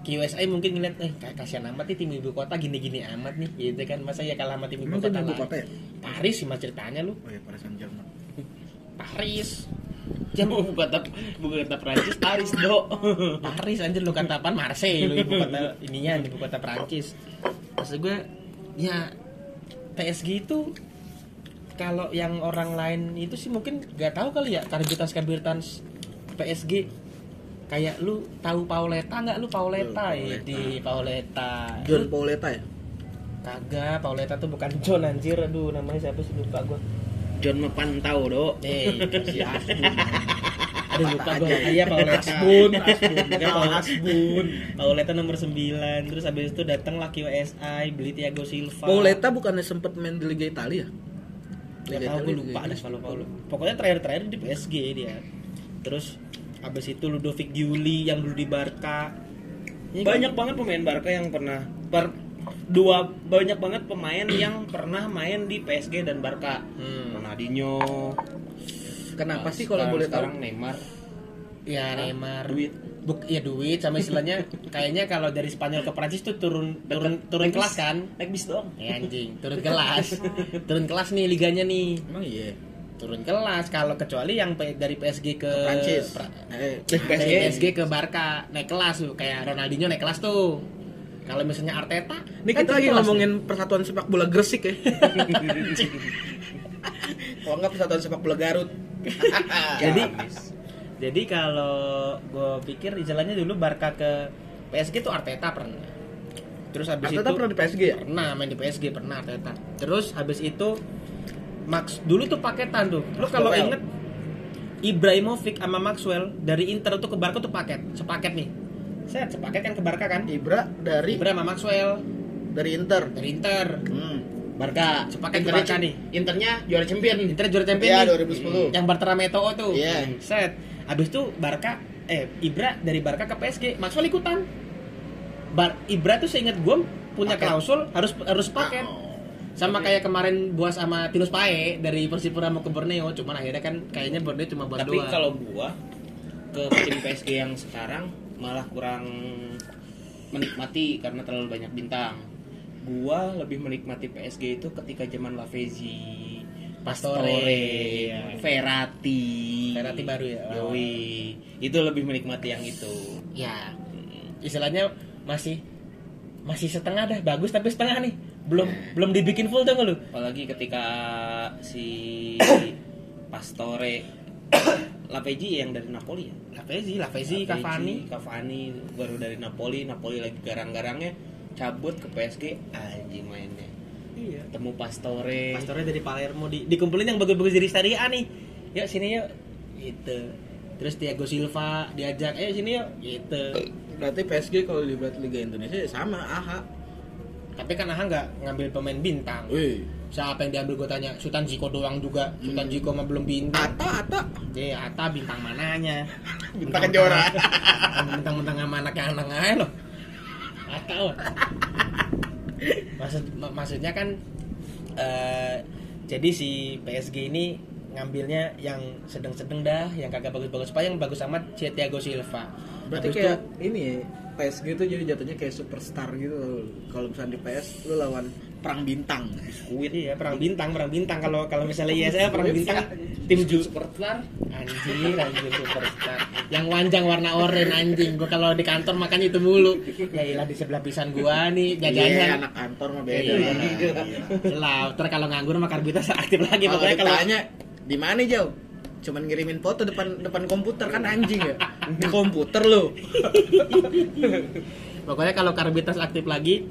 Speaker 1: QSI mungkin ngeliat eh kayak kasihan amat nih tim ibu kota gini-gini amat nih gitu kan masa ya kalah sama tim ibu
Speaker 2: Emang
Speaker 1: kota,
Speaker 2: tim ibu
Speaker 1: lain?
Speaker 2: kota ya?
Speaker 1: Paris sih mas ceritanya lu
Speaker 2: Oh ya Paris Saint Germain.
Speaker 1: Paris
Speaker 4: Jangan buku kata buku kata Prancis Paris do.
Speaker 1: Paris anjir lu kata apaan Marseille lu ibu kota ininya ibu kota Prancis maksud gue ya PSG itu kalau yang orang lain itu sih mungkin nggak tahu kali ya karbitas karbitas PSG kayak lu tahu Pauleta nggak lu Pauleta,
Speaker 2: Lu,
Speaker 1: ya
Speaker 2: Pauleta.
Speaker 1: di Pauleta
Speaker 2: John Pauleta ya?
Speaker 1: kagak Pauleta tuh bukan John anjir aduh namanya siapa sih lupa gue
Speaker 4: John mepantau do.
Speaker 1: eh
Speaker 4: <laughs>
Speaker 1: si Asbun aduh lupa
Speaker 2: Patah
Speaker 1: gue
Speaker 2: aja ya.
Speaker 1: iya Pauleta <laughs>
Speaker 2: Asbun, Asbun.
Speaker 1: Bukan Paul- Pauleta nomor 9 terus habis itu datanglah QSI beli Thiago Silva.
Speaker 2: Pauleta bukannya sempat main di Liga Italia?
Speaker 1: Gak tahu gue lupa ada kalau Paulo. Pokoknya terakhir-terakhir di PSG dia. Terus habis itu Ludovic Giuli yang dulu di Barca. Ini kan
Speaker 4: Banyak banget pemain Barca yang pernah bar- dua banyak banget pemain yang pernah main di PSG dan Barca.
Speaker 1: Hmm.
Speaker 4: Ronaldinho.
Speaker 2: Kenapa
Speaker 4: eh,
Speaker 2: sih kalau
Speaker 4: sekarang-
Speaker 2: boleh tahu?
Speaker 4: sekarang Neymar.
Speaker 1: ya Neymar
Speaker 4: Duit.
Speaker 1: Buk, ya duit sama <laughs> istilahnya kayaknya kalau dari Spanyol ke Prancis tuh turun turun turun
Speaker 4: Naik
Speaker 1: kelas
Speaker 4: bis-
Speaker 1: kan.
Speaker 4: Naik bis doang.
Speaker 1: Ya anjing, <laughs> turun kelas. turun kelas nih liganya nih.
Speaker 2: Emang iya.
Speaker 1: Turun kelas kalau kecuali yang pe- dari PSG ke
Speaker 2: Prancis.
Speaker 1: Pra-
Speaker 2: Eh,
Speaker 1: PSG.
Speaker 4: PSG.
Speaker 1: PSG ke Barca naik kelas tuh kayak Ronaldinho naik kelas tuh kalau misalnya Arteta
Speaker 2: ini
Speaker 1: kan
Speaker 2: kita lagi
Speaker 1: kelas
Speaker 2: ngomongin persatuan sepak bola Gresik <laughs> ya. Kalau nggak persatuan sepak bola <laughs> Garut.
Speaker 1: Jadi- nih. jadi kalau gue pikir istilahnya dulu Barca ke PSG tuh Arteta pernah terus habis
Speaker 2: Arteta
Speaker 1: itu
Speaker 2: pernah di PSG ya?
Speaker 1: pernah main di PSG pernah Arteta terus habis itu Max dulu tuh paketan tuh lu kalau
Speaker 2: Maxwell.
Speaker 1: inget Ibrahimovic sama Maxwell dari Inter tuh ke Barca tuh paket sepaket nih set sepaket kan ke Barca kan
Speaker 2: Ibra dari
Speaker 1: Ibra sama Maxwell
Speaker 2: dari Inter.
Speaker 1: dari Inter
Speaker 2: Hmm.
Speaker 4: Barca.
Speaker 1: Sepaket ke
Speaker 4: Nah, Internya-
Speaker 1: Barca nih.
Speaker 4: Internya juara champion.
Speaker 1: Inter juara champion
Speaker 2: Iya
Speaker 1: nih.
Speaker 2: 2010.
Speaker 1: yang Barterame Eto'o tuh.
Speaker 2: Iya.
Speaker 1: Set. Habis itu Barca eh Ibra dari Barca ke PSG, Maxwell ikutan. Bar Ibra tuh seingat gue punya
Speaker 2: Paket. Oh.
Speaker 1: klausul harus harus paket.
Speaker 4: Oh.
Speaker 1: Sama kayak kemarin Buas sama Tinus Pae dari Persipura mau ke Borneo, cuman akhirnya kan kayaknya Borneo cuma buat
Speaker 4: Tapi
Speaker 1: doang.
Speaker 4: kalau gua ke tim PSG yang sekarang malah kurang menikmati karena terlalu banyak bintang. Gua lebih menikmati PSG itu ketika zaman Lavezzi,
Speaker 1: Pastore, iya.
Speaker 4: Ferrati.
Speaker 1: Ferrati baru ya?
Speaker 4: Yoi. Itu lebih menikmati yang itu.
Speaker 1: ya istilahnya masih masih setengah dah, bagus tapi setengah nih. Belum belum dibikin full tuh lu.
Speaker 4: Apalagi ketika
Speaker 1: <coughs>
Speaker 4: si Pastore Lavezzi yang dari Napoli ya.
Speaker 1: Lavezzi, Lavezzi,
Speaker 4: Lavezzi,
Speaker 1: Cavani,
Speaker 4: Cavani baru dari Napoli, Napoli lagi garang-garangnya cabut ke PSG anjing mainnya.
Speaker 1: Iya.
Speaker 4: Ketemu Pastore.
Speaker 1: Pastornya dari Palermo di dikumpulin yang bagus-bagus dari Serie A nih. Yuk sini yuk. Gitu. Terus Thiago Silva diajak, "Eh sini yuk." Gitu.
Speaker 2: Berarti PSG kalau dilihat Liga Indonesia ya sama AHA.
Speaker 1: Tapi kan Aha nggak ngambil pemain bintang.
Speaker 2: Wih.
Speaker 1: Siapa yang diambil gue tanya? Sultan Jiko doang juga. Sultan
Speaker 2: Hmm.
Speaker 1: Jiko mah belum bintang.
Speaker 2: Ata Ata
Speaker 1: Jadi Ata bintang mananya?
Speaker 2: <laughs> bintang kejora.
Speaker 1: <laughs> Bintang-bintang sama anaknya anak aja loh. Ata loh. Maksud mak- maksudnya kan eh, jadi si PSG ini ngambilnya yang sedang-sedang dah, yang kagak bagus-bagus. Pak yang bagus amat si Thiago Silva.
Speaker 2: Berarti
Speaker 1: Habis
Speaker 2: kayak
Speaker 1: itu-
Speaker 2: ini ya, PSG itu jadi jatuhnya kayak superstar gitu. loh. Kalau misalnya di PS lu lawan perang bintang.
Speaker 1: Wih, iya perang bintang, perang bintang kalau kalau misalnya ISL perang bintang tim ju
Speaker 4: Superstar
Speaker 1: anjing anjing superstar yang wanjang warna oranye anjing gua kalau di kantor makannya itu mulu ya ilah di sebelah pisan gua nih
Speaker 2: Iya,
Speaker 1: jajannya
Speaker 2: anak kantor mah beda.
Speaker 1: Iya.
Speaker 2: Iya.
Speaker 1: Lah, ntar kalau nganggur mah karbitas aktif lagi
Speaker 2: Kalau
Speaker 1: pokoknya kalau
Speaker 2: ditanya di mana jauh? Cuman ngirimin foto depan depan komputer kan anjing ya. Di komputer lu.
Speaker 1: pokoknya kalau karbitas aktif lagi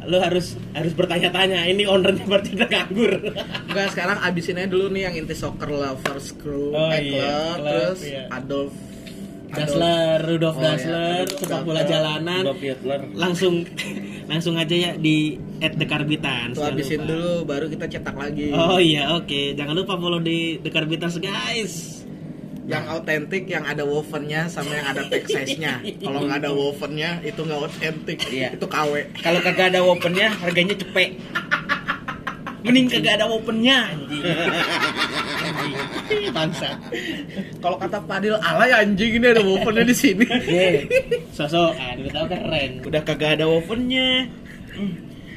Speaker 1: lo harus harus bertanya-tanya ini ownernya <laughs> berarti udah nganggur
Speaker 2: Enggak, sekarang abisin aja dulu nih yang inti soccer lovers crew,
Speaker 1: Oh, iya,
Speaker 2: eh, club,
Speaker 1: club,
Speaker 2: terus
Speaker 1: iya.
Speaker 2: Adolf
Speaker 1: Dassler, Rudolf
Speaker 2: Oh, iya.
Speaker 1: Dassler,
Speaker 2: Rudolf
Speaker 1: sepak bola
Speaker 2: Dassler,
Speaker 1: jalanan,
Speaker 4: Bob Hitler.
Speaker 1: langsung <laughs> langsung aja ya di at the Karbitan.
Speaker 2: Itu
Speaker 1: jangan
Speaker 2: abisin
Speaker 1: lupa.
Speaker 2: dulu, baru kita cetak lagi.
Speaker 1: Oh iya oke, jangan lupa follow di the Karbitan guys.
Speaker 2: Yang autentik, yang ada wovennya, sama yang ada texasnya. Kalau nggak ada wovennya, itu nggak autentik.
Speaker 4: Iya.
Speaker 2: Itu KW.
Speaker 4: Kalau kagak ada opennya harganya cepet.
Speaker 3: Mending kagak ada opennya anjing.
Speaker 1: Bangsa.
Speaker 2: Kalau kata Padil, alay anjing ini ada wovennya di sini.
Speaker 1: Ye. Sosokan, Iya, udah tau keren.
Speaker 4: Udah kagak ada opennya.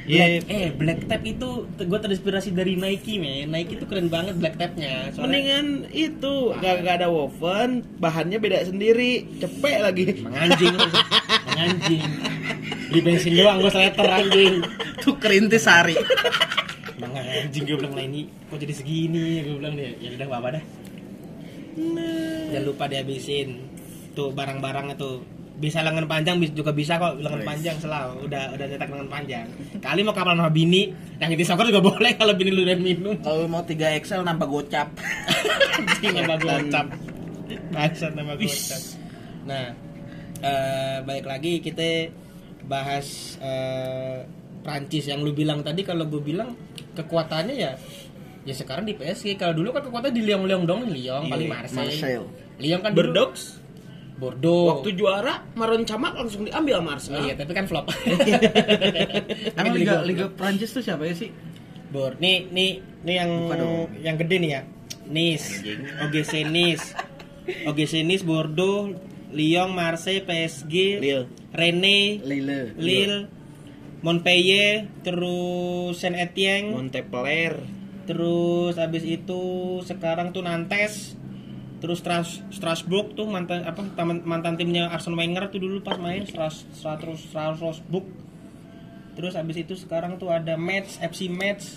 Speaker 2: Iya.
Speaker 1: Black, eh black tap itu gue terinspirasi dari Nike men. Nike itu keren banget black tapnya. Soalnya
Speaker 4: Mendingan itu kagak ada woven, bahannya beda sendiri, cepet
Speaker 2: <laughs>
Speaker 4: lagi.
Speaker 1: menganjing, menganjing. Beli bensin doang gue seleter anjing.
Speaker 2: Itu kerintis sari.
Speaker 1: Menganjing gue bilang lah ini kok jadi segini gue bilang dia. Ya udah apa dah. Jangan lupa dihabisin tuh barang-barangnya tuh bisa lengan panjang bis- juga bisa kok lengan
Speaker 2: Nice.
Speaker 1: panjang selalu udah udah cetak lengan panjang kali mau kapan sama bini yang di sokor juga boleh kalau bini lu udah minum
Speaker 2: Kalau mau 3 XL nambah gocap.
Speaker 1: nama gocap Bangsat nama gocap Nah eh Baik lagi kita Bahas eh, Prancis yang lu bilang tadi Kalau gue bilang kekuatannya ya Ya sekarang di PSG Kalau dulu kan kekuatan di Lyon-Lyon dong Lyon paling Marseille,
Speaker 2: Marseille.
Speaker 1: Lyon kan dulu-
Speaker 4: Berdox
Speaker 1: Bordeaux
Speaker 4: waktu juara Maron Camat langsung diambil sama
Speaker 1: Oh,
Speaker 4: Arsenal.
Speaker 1: iya tapi kan flop
Speaker 2: Emang
Speaker 1: Tapi
Speaker 2: Eh, Liga,
Speaker 1: jadi
Speaker 2: Liga Prancis tuh siapa ya sih?
Speaker 1: Bor, nih nih nih yang
Speaker 2: Buka dong.
Speaker 1: yang gede nih ya. Nice. OGC Nice. OGC Nice Bordeaux, Lyon, Marseille, PSG,
Speaker 4: Lille.
Speaker 1: Rennes,
Speaker 2: Lille.
Speaker 1: Lille, Montpellier, terus Saint Etienne,
Speaker 4: Montpellier.
Speaker 1: terus abis itu sekarang tuh Nantes, terus Stras Strasbourg tuh mantan apa taman- mantan timnya Arsene Wenger tuh dulu pas main Stras Stras- Strasbourg. Terus abis itu sekarang tuh ada Metz, FC Metz,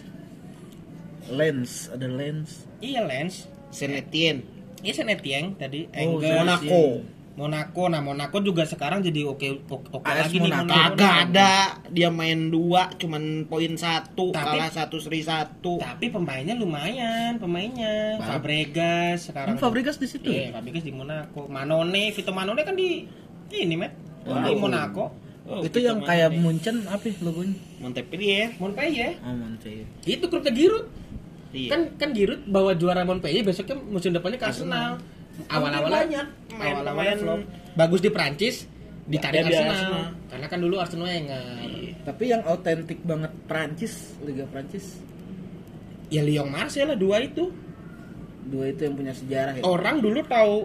Speaker 2: Lens, ada Lens.
Speaker 1: Iya Lens.
Speaker 4: Saint Etienne.
Speaker 1: Iya Saint Etienne tadi.
Speaker 2: Oh,
Speaker 1: Angle.
Speaker 2: Saint
Speaker 1: Monaco.
Speaker 2: Etienne.
Speaker 1: Monaco. Nah Monaco juga sekarang jadi oke oke, oke
Speaker 2: AS
Speaker 1: lagi
Speaker 2: Monaco.
Speaker 1: nih.
Speaker 4: Kagak ada, dia main dua, cuman poin satu,
Speaker 1: Tapi-
Speaker 4: kalah satu seri satu.
Speaker 1: Tapi pemainnya lumayan pemainnya.
Speaker 2: Bang.
Speaker 1: Fabregas sekarang.
Speaker 2: Kan Fabregas di situ.
Speaker 1: Iya Fabregas di Monaco. Manone, Vito Manone kan di ini met.
Speaker 2: Wow.
Speaker 1: Di Monaco.
Speaker 4: Oh,
Speaker 2: itu
Speaker 4: kita
Speaker 2: yang
Speaker 4: main
Speaker 2: kayak
Speaker 4: nih.
Speaker 2: Munchen apa ya logonya?
Speaker 4: Montpellier.
Speaker 1: Montpellier.
Speaker 2: Oh, Munchen.
Speaker 1: Itu klubnya Giroud.
Speaker 4: Iya.
Speaker 1: Kan kan Giroud bawa juara Montpellier besoknya musim depannya ke Arsenal. Awal-awal
Speaker 4: banyak main
Speaker 1: awal-awalnya
Speaker 4: pemain.
Speaker 1: flop. Bagus di Prancis ditarik
Speaker 4: Dia di
Speaker 1: Arsenal.
Speaker 4: Arsenal. Iya.
Speaker 1: Karena kan dulu Arsenal Wenger.
Speaker 2: Tapi yang autentik banget Prancis, Liga Prancis.
Speaker 1: Ya Lyon Marseille lah dua itu.
Speaker 2: Dua itu yang punya sejarah ya.
Speaker 4: Oh.
Speaker 1: Orang dulu tahu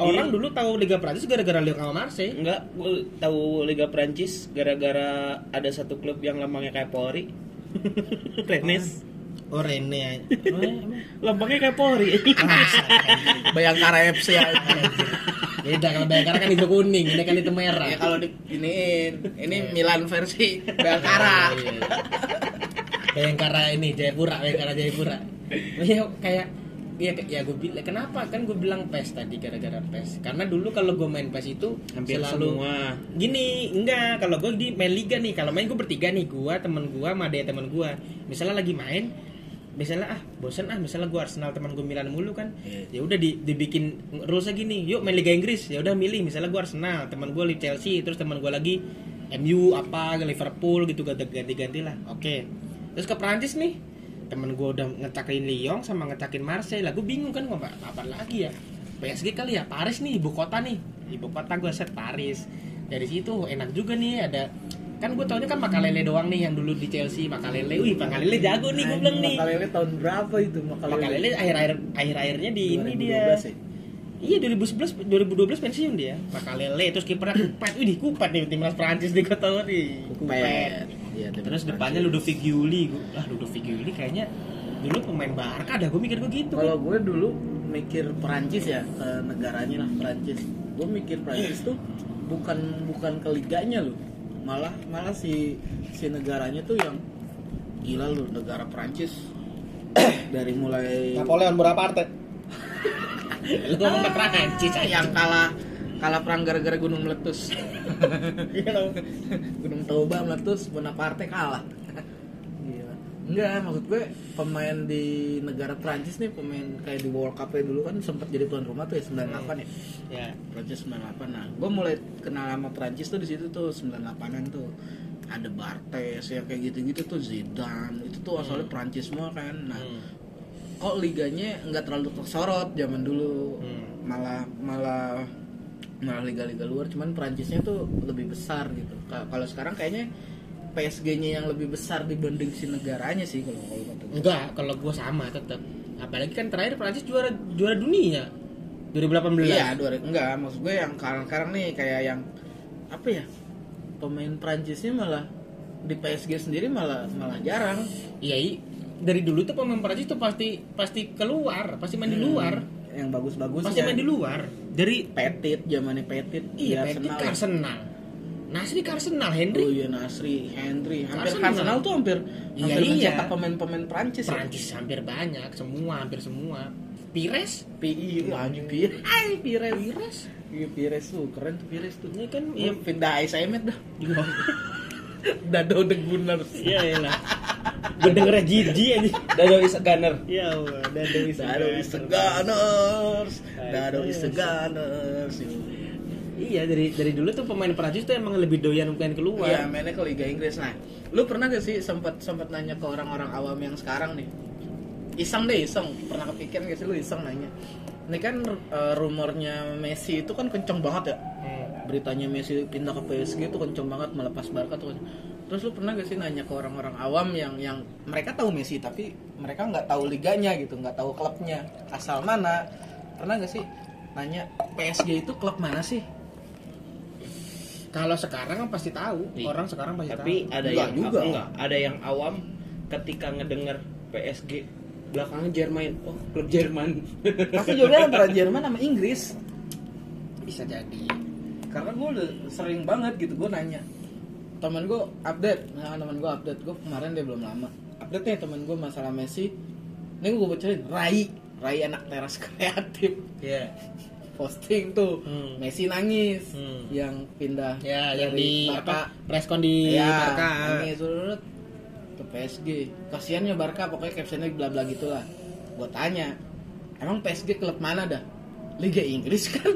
Speaker 1: orang
Speaker 4: Iya.
Speaker 1: dulu tahu Liga Prancis gara-gara Lyon sama Marseille.
Speaker 4: Enggak, gue tahu Liga Prancis gara-gara ada satu klub yang lambangnya kayak Polri. <laughs> Rennes.
Speaker 1: Oh Rene. Oh, emang?
Speaker 4: Lambangnya kayak Polri.
Speaker 2: Bayangkara FC aja.
Speaker 1: Ah,
Speaker 4: <laughs>
Speaker 1: Beda kalau Bayangkara kan itu kuning, ini kan itu merah.
Speaker 2: ya
Speaker 4: Iya.
Speaker 2: kalau di iniin, ini Milan versi <laughs> Bayangkara.
Speaker 1: Iya. Bayangkara ini Jayapura, Bayangkara Jayapura. Ya kayak ya ya gue bilang kenapa kan gue bilang pes tadi gara-gara pes karena dulu kalau gue main pes itu
Speaker 4: Hampir
Speaker 1: selalu
Speaker 4: semua.
Speaker 1: gini enggak kalau gue di main liga nih kalau main gue bertiga nih gue teman gue sama ada teman gue misalnya lagi main misalnya ah bosen ah misalnya gue Arsenal teman gue Milan mulu kan
Speaker 4: Iya,
Speaker 1: ya udah di, dibikin rulesnya gini yuk main Liga Inggris ya udah milih misalnya gue Arsenal teman gue li Chelsea terus teman gue lagi MU apa Liverpool gitu ganti-ganti lah oke terus ke Prancis nih temen gue udah ngetakin Lyon sama ngetakin Marseille lah gue bingung kan mau apa, apa lagi ya PSG kali ya Paris nih ibu kota nih ibu kota gue set Paris dari situ enak juga nih ada kan gue taunya kan Makalele doang nih yang dulu di Chelsea Makalele wih Makalele jago nih gue bilang nih
Speaker 2: Makalele tahun berapa itu Makalele?
Speaker 1: Makalele akhir-akhir akhir-akhirnya di ini
Speaker 2: 2012
Speaker 1: dia
Speaker 2: ya?
Speaker 1: Iya 2011 2012 pensiun dia. Makalele terus kipernya Kupet. Wih, Kupet nih timnas Prancis di kota nih.
Speaker 2: Kupet. Iya, timnas
Speaker 1: Terus depannya
Speaker 2: Prancis.
Speaker 1: Ludovic Giuli. Gua- Ah, Ludovic Giuli kayaknya dulu pemain Barca ada gue mikir gue gitu.
Speaker 2: Kalau gue dulu mikir Perancis ya ke negaranya lah Perancis. Gue mikir Perancis tuh bukan bukan ke liganya loh, malah malah si si negaranya tuh yang gila loh negara Perancis dari
Speaker 1: <laughs>
Speaker 2: mulai Iya.
Speaker 1: Napoleon Bonaparte. Lu ngomong ke Prancis aja.
Speaker 2: yang kalah kalah perang gara-gara gunung meletus <laughs> Iya loh. gunung Toba meletus Bonaparte kalah Gila. Enggak, maksud gue pemain di negara Prancis nih pemain kayak di World Cup dulu kan sempat jadi tuan rumah tuh ya 98 ya.
Speaker 1: ya
Speaker 2: Prancis 98. Nah, gue mulai kenal sama Prancis tuh di situ tuh 98-an tuh. Ada Bartes ya kayak gitu-gitu tuh Zidane. Itu tuh asalnya Prancis semua kan. Nah,
Speaker 1: hmm.
Speaker 2: kok liganya nggak terlalu tersorot zaman dulu.
Speaker 1: Hmm.
Speaker 2: Malah malah malah liga-liga luar cuman Prancisnya tuh lebih besar gitu. Ka- Kalau sekarang kayaknya PSG-nya yang lebih besar dibanding si negaranya sih kalau kalau kata gua.
Speaker 1: enggak kalau gue sama tetap apalagi kan terakhir Prancis juara juara dunia 2018
Speaker 2: Iya, dua enggak maksud gue yang sekarang-sekarang nih kayak yang apa ya? Pemain Prancisnya malah di PSG sendiri malah malah jarang.
Speaker 1: Iya, i- dari dulu tuh pemain Prancis tuh pasti pasti keluar, pasti main di luar,
Speaker 2: Hmm. Yang bagus-bagus ya.
Speaker 1: pasti main di luar. Dari
Speaker 2: Petit, zamannya Petit.
Speaker 1: iya,
Speaker 2: di
Speaker 1: Petit
Speaker 2: Arsenal
Speaker 1: ke
Speaker 2: ya.
Speaker 1: Arsenal. Nasri ke Arsenal,
Speaker 2: Oh
Speaker 1: Henry
Speaker 2: iya Nasri, Henry, hampir
Speaker 1: Arsenal.
Speaker 2: Arsenal tuh hampir
Speaker 1: Iya,
Speaker 2: hampir
Speaker 1: iya.
Speaker 2: mencetak pemain-pemain Prancis. ya.
Speaker 1: Prancis hampir banyak, semua hampir semua. Pires,
Speaker 2: PI, wah anjing Pires. Ay, Pires.
Speaker 1: Pires.
Speaker 2: Iya Pires tuh, keren tuh Pires tuh.
Speaker 1: Ini kan
Speaker 2: Iya,
Speaker 1: iya
Speaker 2: pindah AS Emet <laughs> dah. Dado de Gunners.
Speaker 1: iya lah. Gue dengernya jijik aja.
Speaker 4: Dado is a gunner.
Speaker 1: Ya Allah, Dado
Speaker 2: Dado is a Gunners. Dado is a Gunners.
Speaker 1: Iya, dari dari dulu tuh pemain Prancis tuh emang lebih doyan main keluar.
Speaker 2: Iya, mainnya ke Liga Inggris. Nah, lu pernah gak sih sempat sempat nanya ke orang-orang awam yang sekarang nih? Iseng deh, iseng. Pernah kepikiran gak sih lu iseng nanya? Ini kan eh, rumornya Messi itu kan kenceng banget ya.
Speaker 1: Hmm.
Speaker 2: Beritanya Messi pindah ke PSG itu kenceng banget melepas Barca tuh. Terus lu pernah gak sih nanya ke orang-orang awam yang yang mereka tahu Messi tapi mereka nggak tahu liganya gitu, nggak tahu klubnya asal mana? Pernah gak sih nanya PSG itu klub mana sih?
Speaker 1: Kalau sekarang kan pasti tahu,
Speaker 4: Iya.
Speaker 1: orang sekarang pasti
Speaker 4: Tapi
Speaker 1: tahu.
Speaker 4: ada
Speaker 2: Enggak
Speaker 4: yang
Speaker 2: juga.
Speaker 4: enggak, ada yang awam ketika ngedengar PSG belakangnya Jerman. Oh, klub Jerman.
Speaker 2: Pasti jawabnya antara Jerman sama Inggris.
Speaker 1: bisa jadi.
Speaker 2: karena gue udah sering banget gitu gue nanya temen gue update nah temen gue update gue kemarin dia belum lama update nih temen gue masalah Messi ini gue bocorin Rai Rai anak teras <laughs> kreatif
Speaker 1: Iya.
Speaker 2: posting tuh
Speaker 1: Hmm.
Speaker 2: Messi nangis
Speaker 1: Hmm.
Speaker 2: yang pindah
Speaker 1: Ya, yang
Speaker 2: dari
Speaker 1: di
Speaker 2: Barca
Speaker 1: apa? Preskon di
Speaker 4: Iya.
Speaker 2: ya,
Speaker 1: Barca.
Speaker 2: nangis surut ke PSG kasiannya Barca pokoknya captionnya bla bla gitulah gue tanya emang PSG klub mana dah Liga Inggris <laughs> kan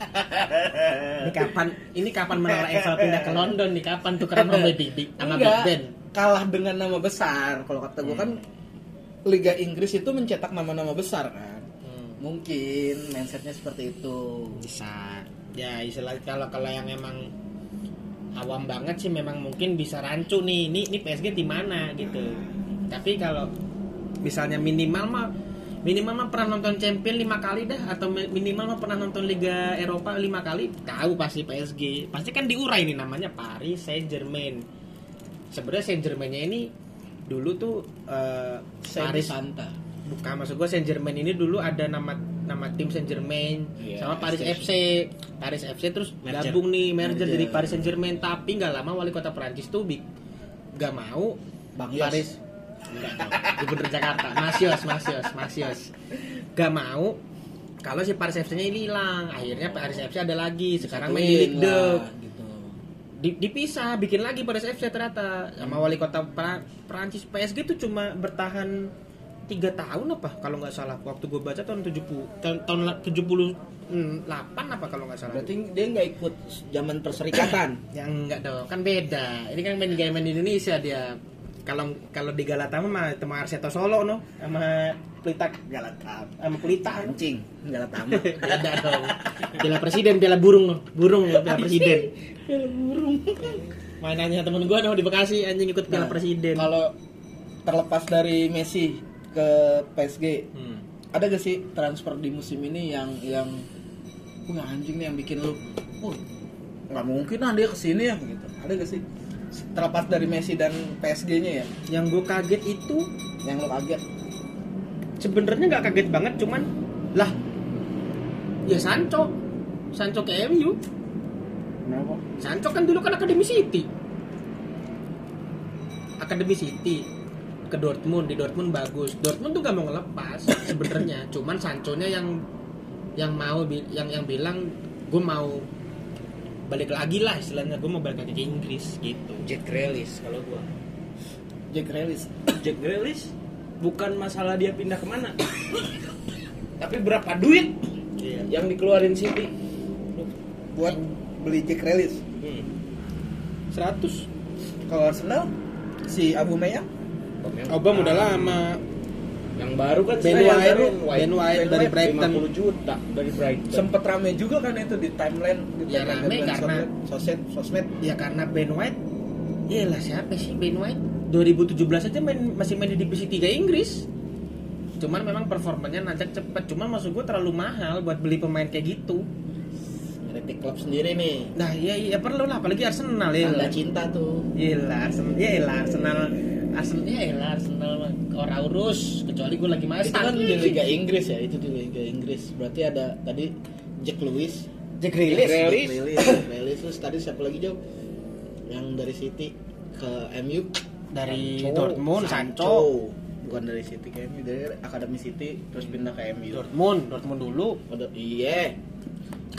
Speaker 1: Ini kapan ini kapan menara Eiffel pindah ke London nih? Kapan tukeran
Speaker 4: <laughs>
Speaker 1: Rombeng Bibi sama Big
Speaker 2: Enggak,
Speaker 1: Ben?
Speaker 2: kalah dengan nama besar. Kalau kata gue kan Liga Inggris itu mencetak nama-nama besar kan.
Speaker 1: Hmm,
Speaker 2: Mungkin mindsetnya seperti itu.
Speaker 1: bisa. Ya, istilah kalau kalau yang emang awam banget sih memang mungkin bisa rancu nih. Ini ini PSG di mana gitu. Tapi kalau misalnya minimal mah minimal mah pernah nonton Champion lima kali dah atau mi- minimal mah pernah nonton Liga Eropa lima kali tahu pasti PSG pasti kan diurai nih namanya Paris Saint Germain sebenarnya Saint Germainnya ini dulu tuh eh, Paris
Speaker 2: Paris Santa.
Speaker 1: bukan maksud gue Saint Germain ini dulu ada nama nama tim Saint Germain
Speaker 2: Iya,
Speaker 1: sama Paris
Speaker 2: SC.
Speaker 1: FC Paris FC terus
Speaker 4: Merger.
Speaker 1: gabung nih merger,
Speaker 2: Merger.
Speaker 1: jadi Paris Saint Germain tapi nggak lama wali kota Prancis tuh bi- nggak mau
Speaker 2: Bang
Speaker 1: Paris
Speaker 2: Yos.
Speaker 1: Nggak dong, Gubernur Jakarta Masios Masios Masios nggak mau kalau si Paris FC-nya ini hilang akhirnya Paris FC ada lagi sekarang main di Ligue
Speaker 2: Disatuin lah,
Speaker 1: 2.
Speaker 2: gitu.
Speaker 1: Di- dipisah bikin lagi Paris FC ternyata sama wali kota pra, Prancis PSG tuh cuma bertahan tiga tahun apa kalau nggak salah waktu gue baca tahun 70 tahun, tahun la- 78 apa kalau nggak salah
Speaker 2: Berarti dia nggak ikut zaman <coughs> perserikatan.
Speaker 1: yang nggak dong kan beda ini kan main game main di Indonesia dia kalau kalau di Galata mah sama Arseto Solo no sama Pelita Galata sama Pelita no.
Speaker 2: Anjing, <laughs> nggak lama.
Speaker 1: beda dong piala presiden piala burung no burung no, piala presiden
Speaker 2: Piala burung.
Speaker 1: mainannya temen gue no di Bekasi anjing ikut piala
Speaker 2: Nah,
Speaker 1: presiden
Speaker 2: Kalau terlepas dari Messi ke PSG,
Speaker 1: Hmm.
Speaker 2: ada gak sih transfer di musim ini yang yang wah anjing nih yang bikin lu wah nggak mungkin lah dia kesini ya gitu ada gak sih terlepas dari Messi dan PSG nya ya
Speaker 1: yang gue kaget itu
Speaker 2: yang lu kaget
Speaker 1: sebenarnya nggak kaget banget cuman lah ya Sancho Sancho ke MU
Speaker 2: kenapa
Speaker 1: Sancho kan dulu kan Academy City Academy City ke Dortmund di Dortmund bagus Dortmund tuh gak mau <coughs> ngelepas sebenarnya cuman Sancho nya yang yang mau bi- yang yang bilang gue mau balik lagi lah istilahnya gue mau balik lagi ke Inggris gitu
Speaker 4: Jack Grealish kalau gua.
Speaker 2: Jack Relis
Speaker 4: <coughs> Jack Grealish bukan masalah dia pindah kemana, tapi berapa duit
Speaker 1: Iya.
Speaker 4: yang dikeluarin City?
Speaker 5: buat beli Jack Relis
Speaker 4: Hmm.
Speaker 1: 100
Speaker 5: kalau Arsenal si Abu Meyang
Speaker 1: Obam udah lama
Speaker 4: Yang baru kan
Speaker 1: Ben
Speaker 4: sekarang
Speaker 1: White,
Speaker 4: baru
Speaker 1: Ben White dari Brighton
Speaker 4: 50 juta dari Brighton.
Speaker 5: sempet rame juga kan itu di timeline di
Speaker 1: Ya,
Speaker 5: timeline
Speaker 1: rame
Speaker 5: dan
Speaker 1: karena-
Speaker 5: sosmed sosmed, sosmed.
Speaker 1: ya karena Ben White iyalah siapa sih Ben White 2017 aja main, masih main di divisi 3 Inggris cuman memang performanya nanjak cepet cuman maksud gue terlalu mahal buat beli pemain kayak gitu
Speaker 2: kritik klub sendiri nih
Speaker 1: nah iya iya perlu lah apalagi Arsenal ya
Speaker 2: tanda cinta tuh
Speaker 1: Yelah, Arsenal, yelah, Arsenal, Arsenal, yelah, Arsenal, orang urus, kecuali gue lagi main.
Speaker 2: itu kan di Liga Inggris ya itu di Liga Inggris berarti ada tadi Jack Lewis
Speaker 1: Jack
Speaker 2: Jack
Speaker 1: Grealish.
Speaker 2: Grealish
Speaker 4: <coughs>
Speaker 2: Jack Grealish terus tadi siapa lagi jauh yang dari City ke MU
Speaker 1: Dari
Speaker 2: Sancho.
Speaker 1: Dortmund, Sancho.
Speaker 2: bukan dari City ke MU dari Academy City terus pindah ke MU
Speaker 1: Dortmund, Dortmund dulu.
Speaker 2: Udah, iya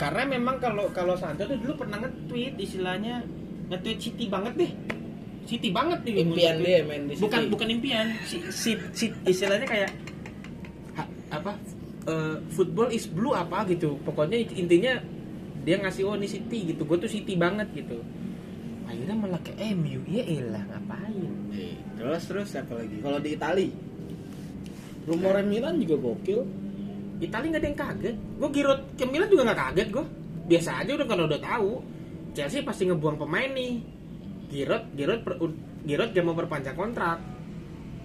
Speaker 1: Karena memang kalau kalau Sancho tuh dulu pernah nge-tweet istilahnya nge-tweet City banget deh. City banget nih.
Speaker 2: impian dia main di City
Speaker 1: Bukan bukan impian, si, si, si- istilahnya kayak ha- apa? eh, football is blue apa gitu. Pokoknya intinya dia ngasih oh ini City gitu. Gue tuh City banget gitu. Akhirnya malah ke MU. Ya elah, ngapain?
Speaker 2: Eh, terus terus siapa lagi kalau di Itali rumornya Milan juga gokil
Speaker 1: Itali nggak ada yang kaget. Gue Giroud ke Milan juga nggak kaget gue. Biasa aja udah kalau udah tahu. Chelsea pasti ngebuang pemain nih. Giroud, Giroud, per, Giroud gak mau perpanjang kontrak.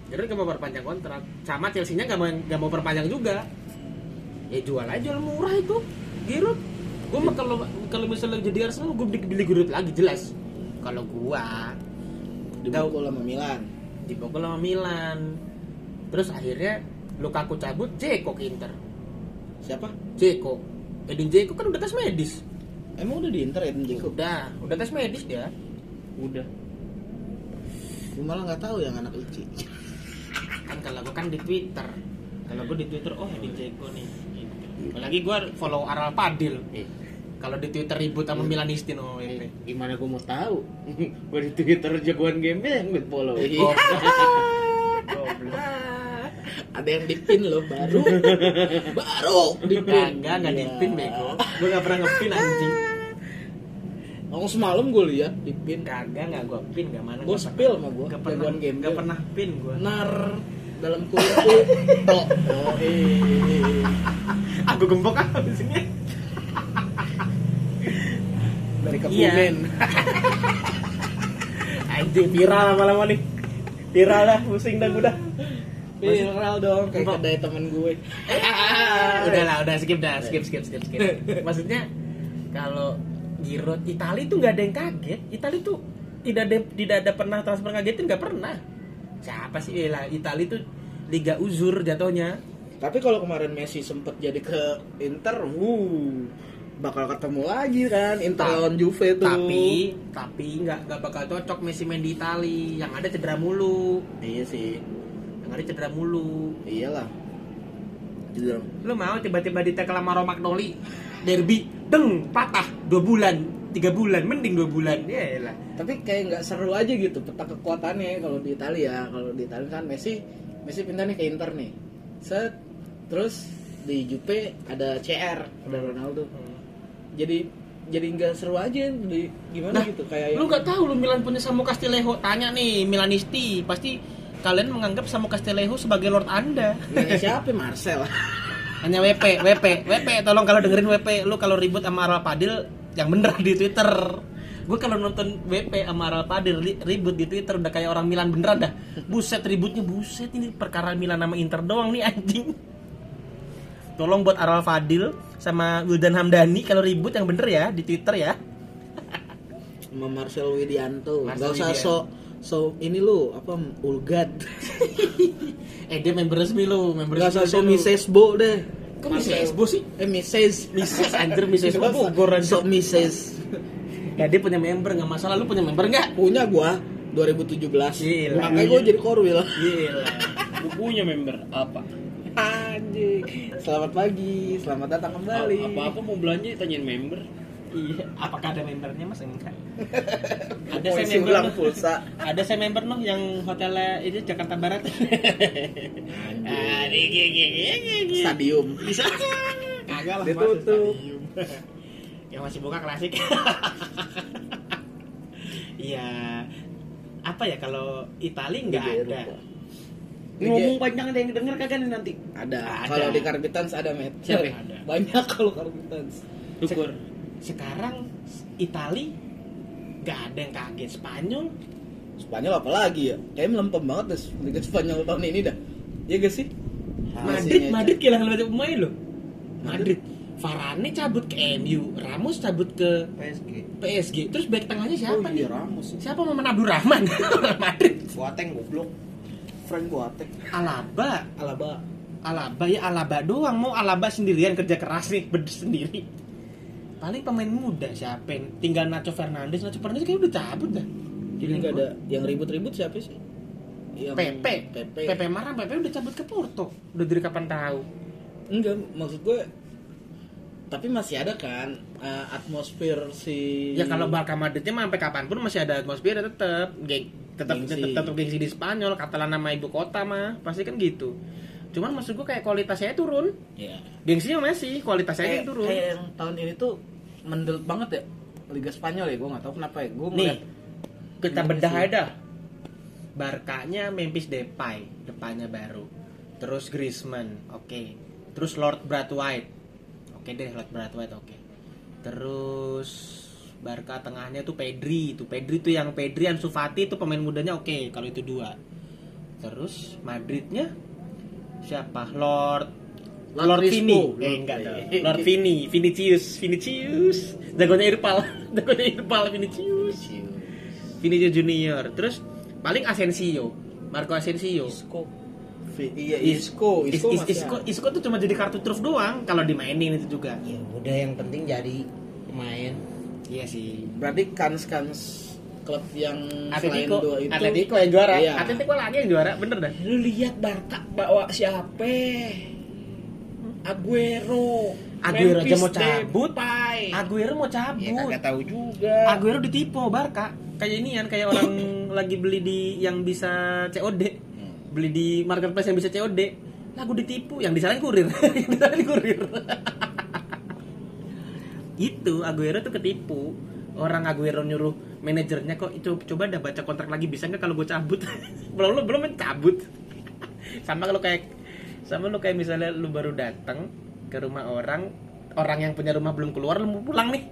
Speaker 1: Giroud gak mau perpanjang kontrak. Sama Chelsea-nya gak mau gak mau perpanjang juga. Ya jual aja jual murah itu. Giroud. Gue mah kalau kalau misalnya jadi Arsenal gue beli, beli Giroud lagi jelas. Kalau gua
Speaker 2: dibukul sama Milan
Speaker 1: dibogol sama Milan. Terus akhirnya Lukaku cabut, Ceko ke Inter.
Speaker 2: siapa
Speaker 1: Jeko Edin Jeko kan udah tes medis
Speaker 2: emang udah di Inter ya
Speaker 1: Iya.
Speaker 2: Dzeko
Speaker 1: udah udah tes medis dia
Speaker 4: Udah.
Speaker 2: Gue malah nggak tahu yang anak Ici.
Speaker 1: kan kalau gue kan di Twitter kalau gue di Twitter oh Edin Jeko nih Gitu. apalagi gue follow Aral Padil kalau di Twitter ribut sama Milanistin oh ini
Speaker 4: Gimana gua mau tahu? <laughs> gua di Twitter jagoan game yang gue follow.
Speaker 2: Iya. Ada yang dipin loh
Speaker 4: <laughs>
Speaker 2: baru. baru dipin.
Speaker 1: Kagak, gak di
Speaker 2: Iya.
Speaker 1: pin bego Gue gak pernah ngepin anjing
Speaker 2: Aku semalam gue lihat dipin.
Speaker 1: Kagak, gak gue pin, gak mana
Speaker 2: Gue spill sama gue.
Speaker 1: Gak pernah,
Speaker 2: game
Speaker 1: gak pernah pin <laughs> gue
Speaker 2: Nar dalam kulit tuh tok. Oh eh.
Speaker 1: Ah, gue gembok ah abis ini
Speaker 5: dari
Speaker 1: Iya.
Speaker 5: Kebumen
Speaker 2: <laughs>
Speaker 1: Anjing, viral lama-lama nih Viral lah, pusing dah gue dah
Speaker 2: Viral dong kayak
Speaker 1: Mbak.
Speaker 2: kedai temen gue. Eh.
Speaker 1: udah lah udah skip dah skip skip skip skip maksudnya kalau Giroud Itali tuh nggak ada yang kaget Itali tuh tidak ada tidak ada pernah transfer ngagetin nggak pernah siapa sih Eh lah Itali tuh liga uzur jatuhnya
Speaker 2: Tapi kalau kemarin Messi sempet jadi ke Inter, wuh bakal ketemu lagi kan Inter
Speaker 1: Ta-
Speaker 2: lawan Juve tuh.
Speaker 1: tapi tapi nggak nggak bakal cocok Messi main di Itali yang ada cedera mulu
Speaker 2: iya sih.
Speaker 1: yang ada cedera mulu
Speaker 2: Iyalah. Gitu Jujur.
Speaker 1: lu mau tiba-tiba ditekel sama Romagnoli derby deng patah dua bulan tiga bulan mending dua bulan ya lah
Speaker 2: Tapi kayak nggak seru aja gitu peta kekuatannya kalau di Italia ya. Kalau di Italia kan Messi Messi pindah nih ke Inter nih. Set terus di Juve ada CR, ada
Speaker 1: Hmm.
Speaker 2: Ronaldo. Jadi jadi nggak seru aja di gimana
Speaker 1: Nah,
Speaker 2: gitu kayak
Speaker 1: Lu nggak tahu lu Milan punya Samu Castilejo. Tanya nih Milanisti, pasti kalian menganggap Samu Castilejo sebagai lord Anda.
Speaker 2: Nah, siapa Marcel?
Speaker 1: Hanya WP, WP, WP. Tolong kalau dengerin WP, lu kalau ribut sama Aral Padil yang bener di Twitter. Gue kalau nonton WP sama Aral Padil li- ribut di Twitter udah kayak orang Milan beneran dah. Buset ributnya buset ini perkara Milan sama Inter doang nih anjing. Tolong buat Aral Fadil sama Wildan Hamdani kalau ribut yang bener ya di Twitter ya.
Speaker 2: Sama Marcel Widianto.
Speaker 1: Marcel
Speaker 2: Nggak usah
Speaker 1: Widianto.
Speaker 2: sok so ini lu apa
Speaker 1: <laughs>
Speaker 2: Ulgad.
Speaker 1: Eh dia member resmi lu, member
Speaker 2: Nggak usah
Speaker 1: Twitter
Speaker 2: sok
Speaker 1: lu.
Speaker 2: Misesbo deh.
Speaker 1: Kok Mrs. Bo sih?
Speaker 2: Eh Mises.
Speaker 1: Mrs. Anjir Mrs. Bo Bogor anjir.
Speaker 2: Sok Mises.
Speaker 1: Ya dia punya member nggak masalah lu punya member nggak?
Speaker 2: punya gua 2017
Speaker 1: Gila. Iya.
Speaker 2: makanya gua jadi
Speaker 1: <laughs>
Speaker 2: korwil
Speaker 1: Gila.
Speaker 4: Gua punya member apa?
Speaker 2: anjing selamat pagi selamat datang kembali
Speaker 4: Apa-apa mau belanja tanyain member.
Speaker 1: Iya, apakah ada membernya Mas enggak? ada saya
Speaker 5: Polisi
Speaker 1: member.
Speaker 5: ulang
Speaker 1: Noh.
Speaker 5: pulsa.
Speaker 1: Ada saya member noh yang hotelnya itu Jakarta Barat. Ah, iya, iya, iya, iya, iya.
Speaker 2: stadium
Speaker 1: Bisa. Kagak lah Mas,
Speaker 5: Ditutup.
Speaker 1: stadium. yang masih buka klasik. Iya. Apa ya kalau Itali nggak
Speaker 5: Liga
Speaker 1: ada.
Speaker 5: Eropa.
Speaker 3: Ngomong panjang ada yang denger kagak nih nanti?
Speaker 2: ada,
Speaker 1: Ada.
Speaker 2: kalau di Karbitans ada met
Speaker 1: Siapa yang ada?
Speaker 2: banyak kalau Karbitans
Speaker 1: Syukur. Sekarang Itali nggak ada yang kaget. Spanyol
Speaker 2: Spanyol apalagi ya kayaknya melempem banget deh Liga Spanyol tahun ini dah iya gak sih
Speaker 1: Madrid,
Speaker 2: Masih
Speaker 1: Madrid kehilangan banyak pemain loh. Madrid. Varane cabut ke MU, Ramos cabut ke
Speaker 4: PSG
Speaker 1: PSG. Terus back tengahnya
Speaker 2: Oh
Speaker 1: siapa nih?
Speaker 2: iya Ramos sih.
Speaker 1: Siapa Maman Abdurrahman? <laughs> Madrid.
Speaker 4: Boateng goblok
Speaker 5: Frank Boateng.
Speaker 1: Alaba,
Speaker 5: Alaba.
Speaker 1: Alaba ya Alaba doang. Mau Alaba sendirian kerja keras nih berdiri sendiri. Paling pemain muda siapa? yang- Tinggal Nacho Fernandes. Nacho Fernandes kayaknya udah cabut dah.
Speaker 2: Jadi nggak ada yang ribut-ribut siapa sih? Yang
Speaker 1: Pepe,
Speaker 2: Pepe.
Speaker 1: Pepe marah, Pepe udah cabut ke Porto. Udah dari kapan tahu?
Speaker 2: Enggak, maksud gue tapi masih ada kan eh, atmosfer si
Speaker 1: Ya kalau Barca Madridnya mah sampai kapanpun masih ada atmosfer tetap geng tetap
Speaker 2: Gengsi.
Speaker 1: tetap tetap gengsi di Spanyol, Katalan nama ibu kota mah pasti kan gitu. Cuman maksud gua kayak kualitasnya turun.
Speaker 2: ya.
Speaker 1: Gengsinya masih, kualitasnya
Speaker 2: kayak,
Speaker 1: kan turun.
Speaker 2: kayak yang tahun ini tuh mendelut banget ya Liga Spanyol ya gue nggak tahu kenapa ya gue
Speaker 1: Nih,
Speaker 2: ngeliat
Speaker 1: kita
Speaker 2: Gimana
Speaker 1: bedah
Speaker 2: sih?
Speaker 1: aja. Barkanya Memphis Depay, depannya baru. Terus Griezmann, oke. Terus Lord Brathwaite. Oke deh Lord Brathwaite, oke. Terus Barca tengahnya tuh Pedri, itu Pedri tuh yang Pedri Ansu Fati itu pemain mudanya oke kalau itu dua. Terus Madridnya siapa? Lord
Speaker 2: Lord
Speaker 1: Lord
Speaker 2: Crispo.
Speaker 1: Vini.
Speaker 2: Lord
Speaker 1: Eh, enggak dong.
Speaker 2: Vini.
Speaker 1: Lord Vini, Vinicius, Vinicius. Jagonya Irpal, <laughs> jagonya Irpal Vinicius. Vinicius Junior. Terus paling Asensio, Marco Asensio.
Speaker 2: Isco V- iya Isco
Speaker 1: Is-
Speaker 2: Isco
Speaker 1: is-
Speaker 2: masih
Speaker 1: Isco,
Speaker 2: ada.
Speaker 1: Isco tuh cuma jadi kartu truf doang kalau dimainin itu juga.
Speaker 4: ya udah yang penting jadi pemain
Speaker 1: Iya sih.
Speaker 2: berarti kans kans klub yang selain
Speaker 1: Atletico,
Speaker 2: dua itu
Speaker 1: Atletico yang juara.
Speaker 2: Iya.
Speaker 1: Atletico lagi yang juara, bener dah.
Speaker 3: Lu lihat Barca bawa siapa? Aguero.
Speaker 1: Aguero Eh, aja
Speaker 3: Memphis
Speaker 1: mau cabut.
Speaker 3: Depay.
Speaker 1: Aguero mau cabut.
Speaker 2: Iya,
Speaker 4: ya kagak tahu juga
Speaker 1: Aguero ditipu Barca. Kayak ini kan kayak orang lagi beli di yang bisa COD. Beli di marketplace yang bisa COD. Lah gue ditipu, yang disalahin kurir. <laughs> yang disalahin kurir. <laughs> itu Aguero tuh ketipu. Orang Aguero nyuruh manajernya kok "Co- coba dah baca kontrak lagi bisa nggak kalau gue cabut. <laughs> belum belum belum cabut. <laughs> sama kalau kayak sama lu kayak misalnya lu baru datang ke rumah orang orang yang punya rumah belum keluar lu mau pulang nih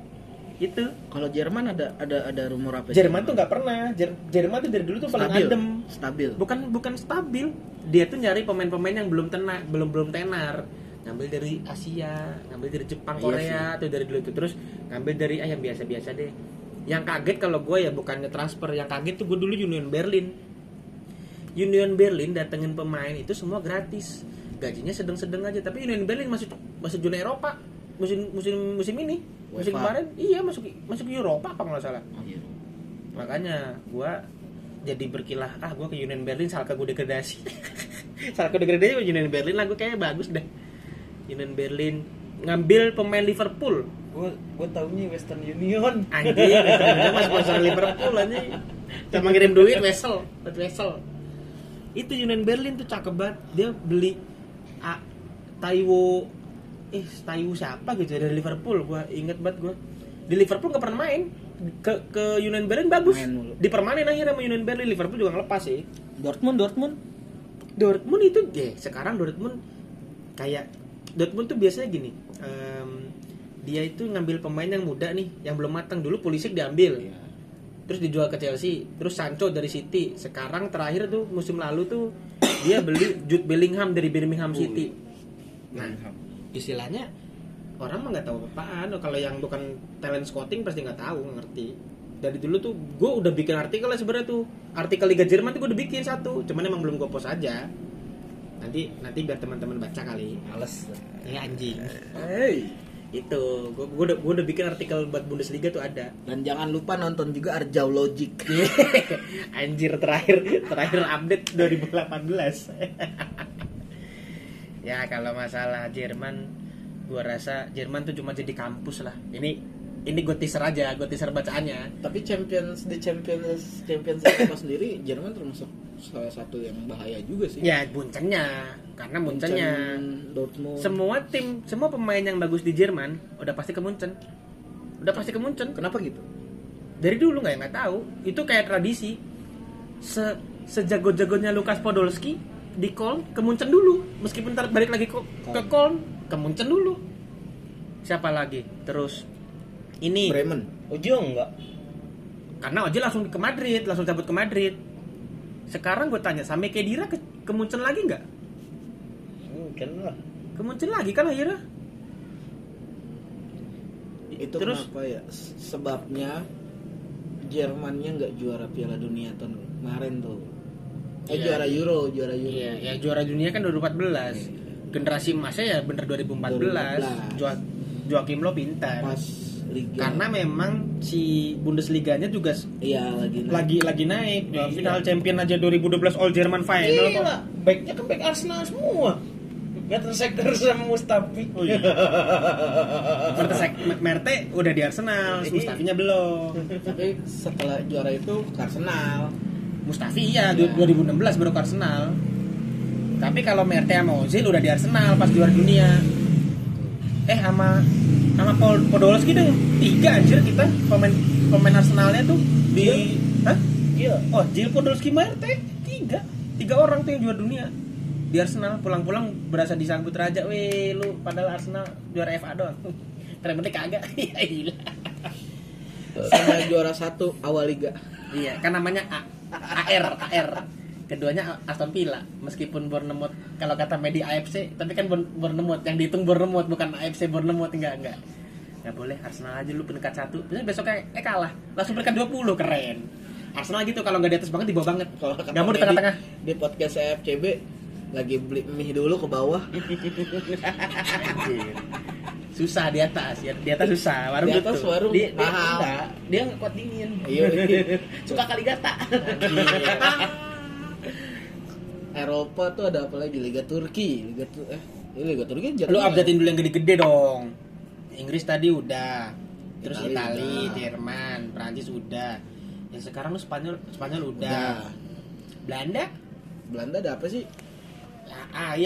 Speaker 1: Gitu. itu
Speaker 2: kalau Jerman ada ada ada rumor apa sih?
Speaker 1: Jerman tuh nggak pernah. Jer- Jerman tuh dari dulu tuh paling
Speaker 2: stabil
Speaker 1: adem.
Speaker 2: stabil
Speaker 1: Bukan bukan stabil. Dia tuh nyari pemain-pemain yang belum tenar, belum belum tenar. Ngambil dari Asia, ngambil dari Jepang,
Speaker 2: Iya
Speaker 1: Korea tuh dari dulu tuh terus ngambil dari ah yang biasa-biasa deh. Yang kaget kalau gue ya bukannya transfer, yang kaget tuh gue dulu Union Berlin. Union Berlin datengin pemain itu semua gratis. Gajinya sedang-sedang aja, tapi Union Berlin masuk masuk zona Eropa musim musim musim ini. Musim
Speaker 2: UEFA.
Speaker 1: kemarin iya masuk masuk Eropa apa nggak salah
Speaker 2: Iya.
Speaker 1: makanya gua jadi berkilah ah gua ke Union Berlin Salka gue degradasi <laughs> Salka degradasi ke Union Berlin lah gue kayaknya bagus dah Union Berlin ngambil pemain Liverpool
Speaker 4: gue gue taunya Western Union
Speaker 1: anjing itu mas sponsor Liverpool anjing cuma ngirim duit wesel buat wesel itu Union Berlin tuh cakep banget dia beli A, Taiwo eh Taiwo siapa gitu dari Liverpool gua inget banget gua di Liverpool gak pernah main ke ke Union Berlin bagus
Speaker 2: Main mulu.
Speaker 1: dipermanen akhirnya sama Union Berlin Liverpool juga ngelepas sih
Speaker 2: Dortmund Dortmund
Speaker 1: Dortmund itu ya sekarang Dortmund kayak Dortmund tuh biasanya gini em, dia itu ngambil pemain yang muda nih yang belum matang dulu Pulisic diambil
Speaker 2: Iya.
Speaker 1: terus dijual ke Chelsea terus Sancho dari City sekarang terakhir tuh musim lalu tuh dia beli Jude Bellingham dari Birmingham City nah istilahnya orang mah nggak tahu apaan Oh, kalau yang bukan talent scouting pasti nggak tahu nggak ngerti dari dulu tuh gue udah bikin artikel lah sebenarnya tuh artikel Liga Jerman tuh gue udah bikin satu cuman emang belum gue post aja nanti nanti biar teman-teman baca kali
Speaker 4: males
Speaker 1: ya anjing
Speaker 5: Hey.
Speaker 1: itu gue gue udah gue udah bikin artikel buat Bundesliga tuh ada
Speaker 2: dan jangan lupa nonton juga Arjau Logic
Speaker 1: <laughs> Anjir terakhir terakhir update <laughs> 2018. ya kalau masalah Jerman gua rasa Jerman tuh cuma jadi kampus lah. Ini ini gue teaser aja gue teaser bacaannya
Speaker 2: Tapi Champions di Champions Champions Eropa sendiri Jerman termasuk salah satu yang bahaya juga sih.
Speaker 1: ya Muncennya karena
Speaker 2: Munchen,
Speaker 1: Muncennya
Speaker 2: Dortmund.
Speaker 1: semua tim semua pemain yang bagus di Jerman udah pasti ke Munchen udah pasti ke Munchen
Speaker 2: Kenapa gitu?
Speaker 1: dari dulu nggak nggak tahu itu kayak tradisi Se sejago-jagonya Lukas Podolski di Köln ke Munchen dulu meskipun ntar balik lagi ke, ke Köln ke Munchen dulu siapa lagi terus ini
Speaker 2: Bremen.
Speaker 4: Ojo enggak?
Speaker 1: karena Ojil langsung ke Madrid langsung cabut ke Madrid sekarang gue tanya sampai Kedira ke, ke Munchen lagi nggak
Speaker 4: Mungkin lah.
Speaker 1: ke Munchen lagi kan akhirnya
Speaker 2: Itu
Speaker 1: Terus?
Speaker 2: kenapa ya? S- Sebabnya Jermannya nggak juara Piala Dunia tahun kemarin tuh. Eh
Speaker 1: Iya.
Speaker 2: juara Euro, juara Euro.
Speaker 1: Iya, ya juara dunia kan 2014. Generasi emasnya ya bener 2014.
Speaker 2: 2014.
Speaker 1: Joa- Joakim lo pintar.
Speaker 2: Pas Liga.
Speaker 1: iya. Karena memang si Bundesliganya juga s-
Speaker 2: iya lagi naik.
Speaker 1: lagi lagi naik. Final champion aja 2012 All German Final kok.
Speaker 4: Gila, Nah, backnya kan back Arsenal semua. Gak tersektor sama Mustafi.
Speaker 1: Oh
Speaker 4: <laughs>
Speaker 1: iya. Mertesek- Merte udah di Arsenal,
Speaker 4: Iya.
Speaker 1: Mustafinya belum.
Speaker 2: Tapi setelah juara itu ke Arsenal.
Speaker 1: Mustafi iya,
Speaker 2: Iya.
Speaker 1: 2016 baru ke Arsenal. Tapi kalau Merte sama Ozil udah di Arsenal pas juara dunia. Eh sama sama Paul Podolski deh tiga anjir kita pemain pemain Arsenalnya tuh di hah?
Speaker 4: Gila.
Speaker 1: Ozil Podolski Merte tiga tiga orang tuh yang juara dunia di Arsenal pulang-pulang berasa disambut raja weh lu padahal Arsenal juara FA doang <laughs> ternyata kagak <laughs> Iya, gila.
Speaker 2: Sama juara satu awal liga.
Speaker 1: Iya, kan namanya A, AR, AR. Keduanya Aston Villa, meskipun Bournemouth kalau kata media AFC, tapi kan Bour- Bournemouth yang dihitung Bournemouth bukan AFC Bournemouth enggak enggak. Enggak boleh Arsenal aja lu peringkat satu, Terus besoknya eh kalah, langsung peringkat 20 keren. Arsenal gitu kalau nggak di atas banget di bawah banget.
Speaker 2: Kalau kata
Speaker 1: Nggak mau di
Speaker 2: Dedi
Speaker 1: tengah-tengah.
Speaker 2: Di podcast AFCB lagi beli mie dulu ke bawah.
Speaker 1: Susah di atas, ya, di atas susah. Warung gitu.
Speaker 2: Di atas
Speaker 1: tutup.
Speaker 2: warung
Speaker 4: Dia, dia
Speaker 2: mahal.
Speaker 1: Nah,
Speaker 4: enggak, dia enggak kuat dingin.
Speaker 2: Iya.
Speaker 4: Suka kali gata.
Speaker 2: Eropa tuh ada apa lagi? Liga Turki, Liga Tu- eh ini ya? Liga Turki Jerman.
Speaker 1: Ya, Lu updatein dulu yang gede-gede dong. Inggris tadi udah, terus
Speaker 2: Itali nah.
Speaker 1: Itali,
Speaker 2: udah.
Speaker 1: Jerman, Prancis udah. Yang sekarang lu Spanyol, Spanyol
Speaker 2: Udah.
Speaker 1: udah. Belanda?
Speaker 2: Belanda ada apa sih?
Speaker 1: Ya,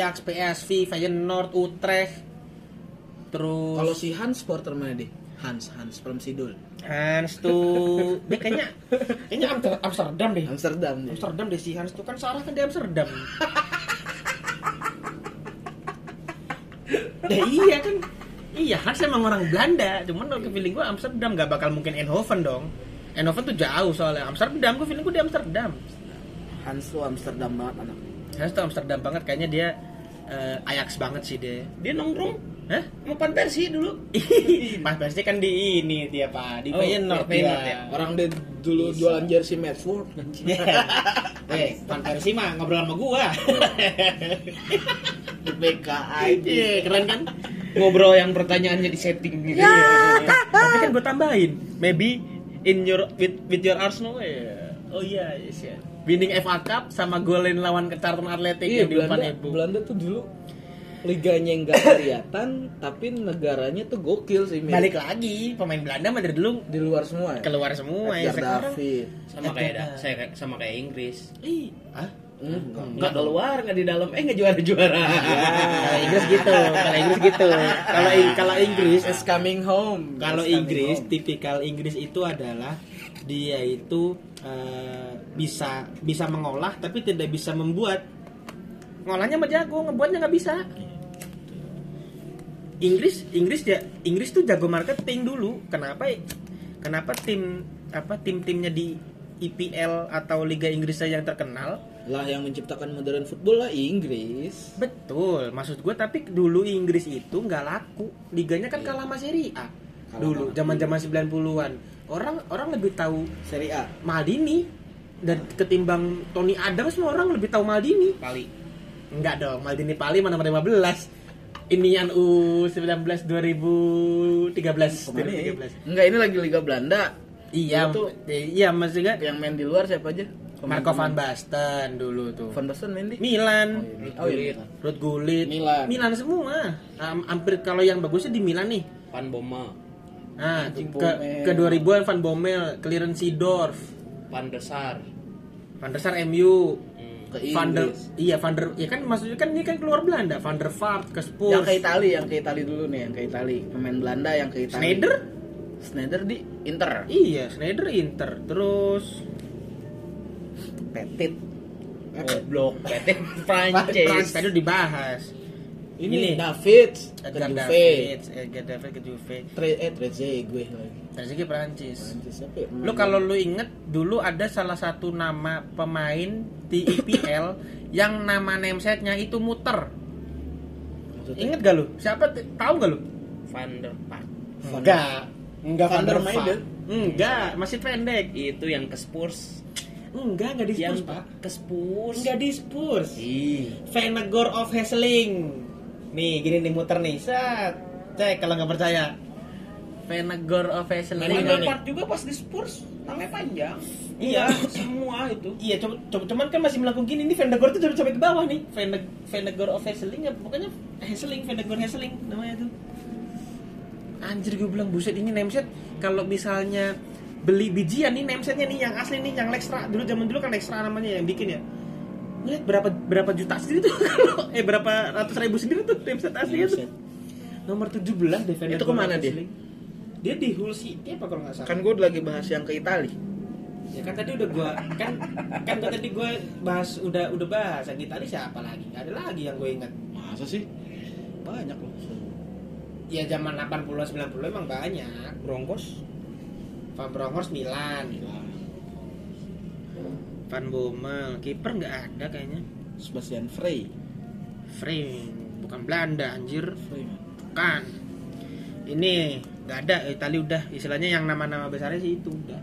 Speaker 1: Ajax, PSV, Feyenoord, Utrecht. Terus
Speaker 2: Kalau si Hans supporter mana deh? Hans, Hans from Sidul.
Speaker 1: Hans tuh dia kayaknya kayaknya Amster- Amsterdam deh.
Speaker 2: Amsterdam deh.
Speaker 1: Amsterdam deh si Hans tuh kan Sarah kan di
Speaker 4: <laughs>
Speaker 1: Amsterdam. ya iya kan. Iya Hans emang orang Belanda, cuman kalau ke feeling gue Amsterdam gak bakal mungkin Eindhoven dong. Eindhoven tuh jauh soalnya Amsterdam gue feeling gue di Amsterdam.
Speaker 2: Hans tuh Amsterdam banget anak.
Speaker 1: Hans tuh Amsterdam banget kayaknya dia eh, Ajax banget sih deh.
Speaker 4: Dia nongkrong
Speaker 1: Hah?
Speaker 4: mau pan Persi dulu.
Speaker 1: Mas Basti kan di ini dia Pak, di
Speaker 4: Oh,
Speaker 1: Feyenoord ya.
Speaker 4: di Feyenoord
Speaker 1: dia.
Speaker 2: iya.
Speaker 1: <laughs>
Speaker 2: Orang dia dulu jualan jersey Medford.
Speaker 1: Eh, Van Persie mah ngobrol sama gua.
Speaker 2: Di BKI.
Speaker 1: Iya, keren kan?
Speaker 4: Ngobrol yang pertanyaannya di setting gitu.
Speaker 1: Tapi kan gua tambahin, maybe in your with, with your Arsenal ya. Oh iya, yes, ya. Winning FA Cup sama golin lawan ke Charlton Athletic
Speaker 2: Iya,
Speaker 1: yang di depan
Speaker 2: Belanda,
Speaker 1: Ibu.
Speaker 2: Belanda tuh dulu liganya yang nggak kelihatan, tapi negaranya tuh gokil sih. Mir.
Speaker 1: Balik lagi, pemain Belanda mah dari dulu
Speaker 2: di luar semua ya.
Speaker 1: keluar semua ya
Speaker 2: Edgar
Speaker 1: sekarang.
Speaker 2: David.
Speaker 4: Sama kayak da- saya kayak- sama kayak Inggris.
Speaker 1: Ih, ah.
Speaker 2: Hmm, nggak.
Speaker 4: Enggak keluar, enggak di dalam. Eh enggak juara-juara. Iya.
Speaker 1: Kalau Inggris gitu, kalau Inggris gitu. Kalau Ing- kalau Inggris
Speaker 2: It's coming home.
Speaker 1: Kalau
Speaker 2: It's coming
Speaker 1: Inggris,
Speaker 2: home.
Speaker 1: tipikal Inggris itu adalah dia itu eh, bisa bisa mengolah tapi tidak bisa membuat. Ngolahnya mah jago, ngebuatnya nggak bisa. Inggris, Inggris ya, Inggris tuh jago marketing dulu. Kenapa? Kenapa tim apa tim-timnya di IPL atau Liga Inggris yang terkenal?
Speaker 2: lah yang menciptakan modern football lah Inggris.
Speaker 1: Betul, maksud gue tapi dulu Inggris itu nggak laku. Liganya kan kalah sama Serie A.
Speaker 2: Iya. Kalah
Speaker 1: Dulu
Speaker 2: sama-
Speaker 1: zaman-zaman 90-an. Orang orang lebih tahu
Speaker 2: Serie A.
Speaker 1: Maldini dan ketimbang Tony Adams semua orang lebih tahu Maldini.
Speaker 4: Kali.
Speaker 1: Enggak dong, Maldini Pali mana nomor 15. Ini U19 2013
Speaker 2: Kemana ya?
Speaker 1: 2013.
Speaker 2: Enggak ini lagi Liga Belanda.
Speaker 1: Iya,
Speaker 2: Itu-
Speaker 1: iya maksudnya
Speaker 2: Yang main di luar siapa aja?
Speaker 1: Marco van Basten dulu tuh.
Speaker 2: Van Basten main di.
Speaker 1: Milan.
Speaker 2: Oh iya.
Speaker 1: Ruth Gullit Nah,
Speaker 2: Milan.
Speaker 1: semua Am- hampir kalau yang bagusnya di Milan nih
Speaker 4: Pan Boma.
Speaker 1: Nah,
Speaker 2: Van
Speaker 1: ke,
Speaker 2: Bommel.
Speaker 1: ke 2000-an Van Bommel, Clearance Seedorf,
Speaker 4: Pandesar.
Speaker 1: Van der Sar MU,
Speaker 4: Hmm.
Speaker 2: ke
Speaker 1: Van der,
Speaker 2: Inggris.
Speaker 1: iya Van der, ya kan maksudnya kan dia kan keluar Belanda, Van der Vaart ke
Speaker 2: yang
Speaker 1: Spurs,
Speaker 2: ke Itali yang ke Itali dulu nih yang ke Itali pemain Belanda yang ke Itali
Speaker 1: Schneider,
Speaker 2: Schneider di Inter
Speaker 1: iya Schneider Inter, terus
Speaker 2: Petit
Speaker 4: Goblok, PT
Speaker 1: <laughs> Prancis
Speaker 4: Prancis.
Speaker 1: tadi udah dibahas,
Speaker 2: ini,
Speaker 1: Ini.
Speaker 2: David ke
Speaker 1: Edgar
Speaker 2: Juve
Speaker 1: Davids, Edgar Davids eh, ke Juve,
Speaker 2: Tre eh Trezeguet lagi
Speaker 1: Trezeguet Prancis.
Speaker 2: Prancis siapa ya?
Speaker 1: Lu kalau lu inget dulu ada salah satu nama pemain di IPL yang nama namesetnya itu muter.
Speaker 2: Maksudnya?
Speaker 1: Ingat gak lu? Siapa t- tahu gak lu?
Speaker 4: Van der Park.
Speaker 1: Enggak. Enggak
Speaker 2: Van der
Speaker 1: Vaart.
Speaker 2: Meijden.
Speaker 1: Enggak, masih pendek.
Speaker 4: Itu yang ke Spurs.
Speaker 1: Enggak, enggak di
Speaker 4: yang
Speaker 1: Spurs, Pak.
Speaker 4: ke Spurs.
Speaker 1: Enggak di Spurs.
Speaker 4: Ih.
Speaker 1: Venegor of Hesling. Nih, gini nih muter nih. Set. Cek kalau nggak percaya. Venegor of Hesling.
Speaker 4: Van der Park juga pas di Spurs namanya panjang.
Speaker 1: Iya.
Speaker 4: semua itu.
Speaker 1: Iya, coba, coba cuman kan masih melengkung gini nih Vendegor tuh udah sampai ke bawah nih. Vendeg Vendegor of Hesseling ya pokoknya Hesseling, Vendegor Hesseling namanya tuh. Anjir gue bilang buset ini nameset kalau misalnya beli bijian nih namesetnya nih yang asli nih yang Lextra dulu zaman dulu kan Lextra namanya yang bikin ya. Ngeliat berapa berapa juta sendiri tuh <laughs> kalau eh berapa ratus ribu sendiri tuh nameset aslinya tuh. Nomor 17 deh Vendegor
Speaker 2: Iya, Itu kemana
Speaker 1: of
Speaker 2: dia?
Speaker 1: Hesseling. Dia di Hull City apa kalau nggak salah?
Speaker 2: kan gue lagi bahas yang ke Itali
Speaker 1: Ya kan tadi udah gua kan kan gua tadi gua bahas udah udah bahas yang kita siapa lagi? Gak ada lagi yang gue ingat.
Speaker 2: masa sih banyak loh
Speaker 1: Ya zaman 80-an 90 emang banyak.
Speaker 4: Broncos.
Speaker 1: Van Bronckhorst Milan. Van Bommel, kiper nggak ada kayaknya.
Speaker 2: Sebastian Frey
Speaker 1: Frame bukan Belanda anjir,
Speaker 2: Frey man.
Speaker 1: bukan. Ini nggak ada Itali udah istilahnya yang nama-nama besarnya sih itu udah.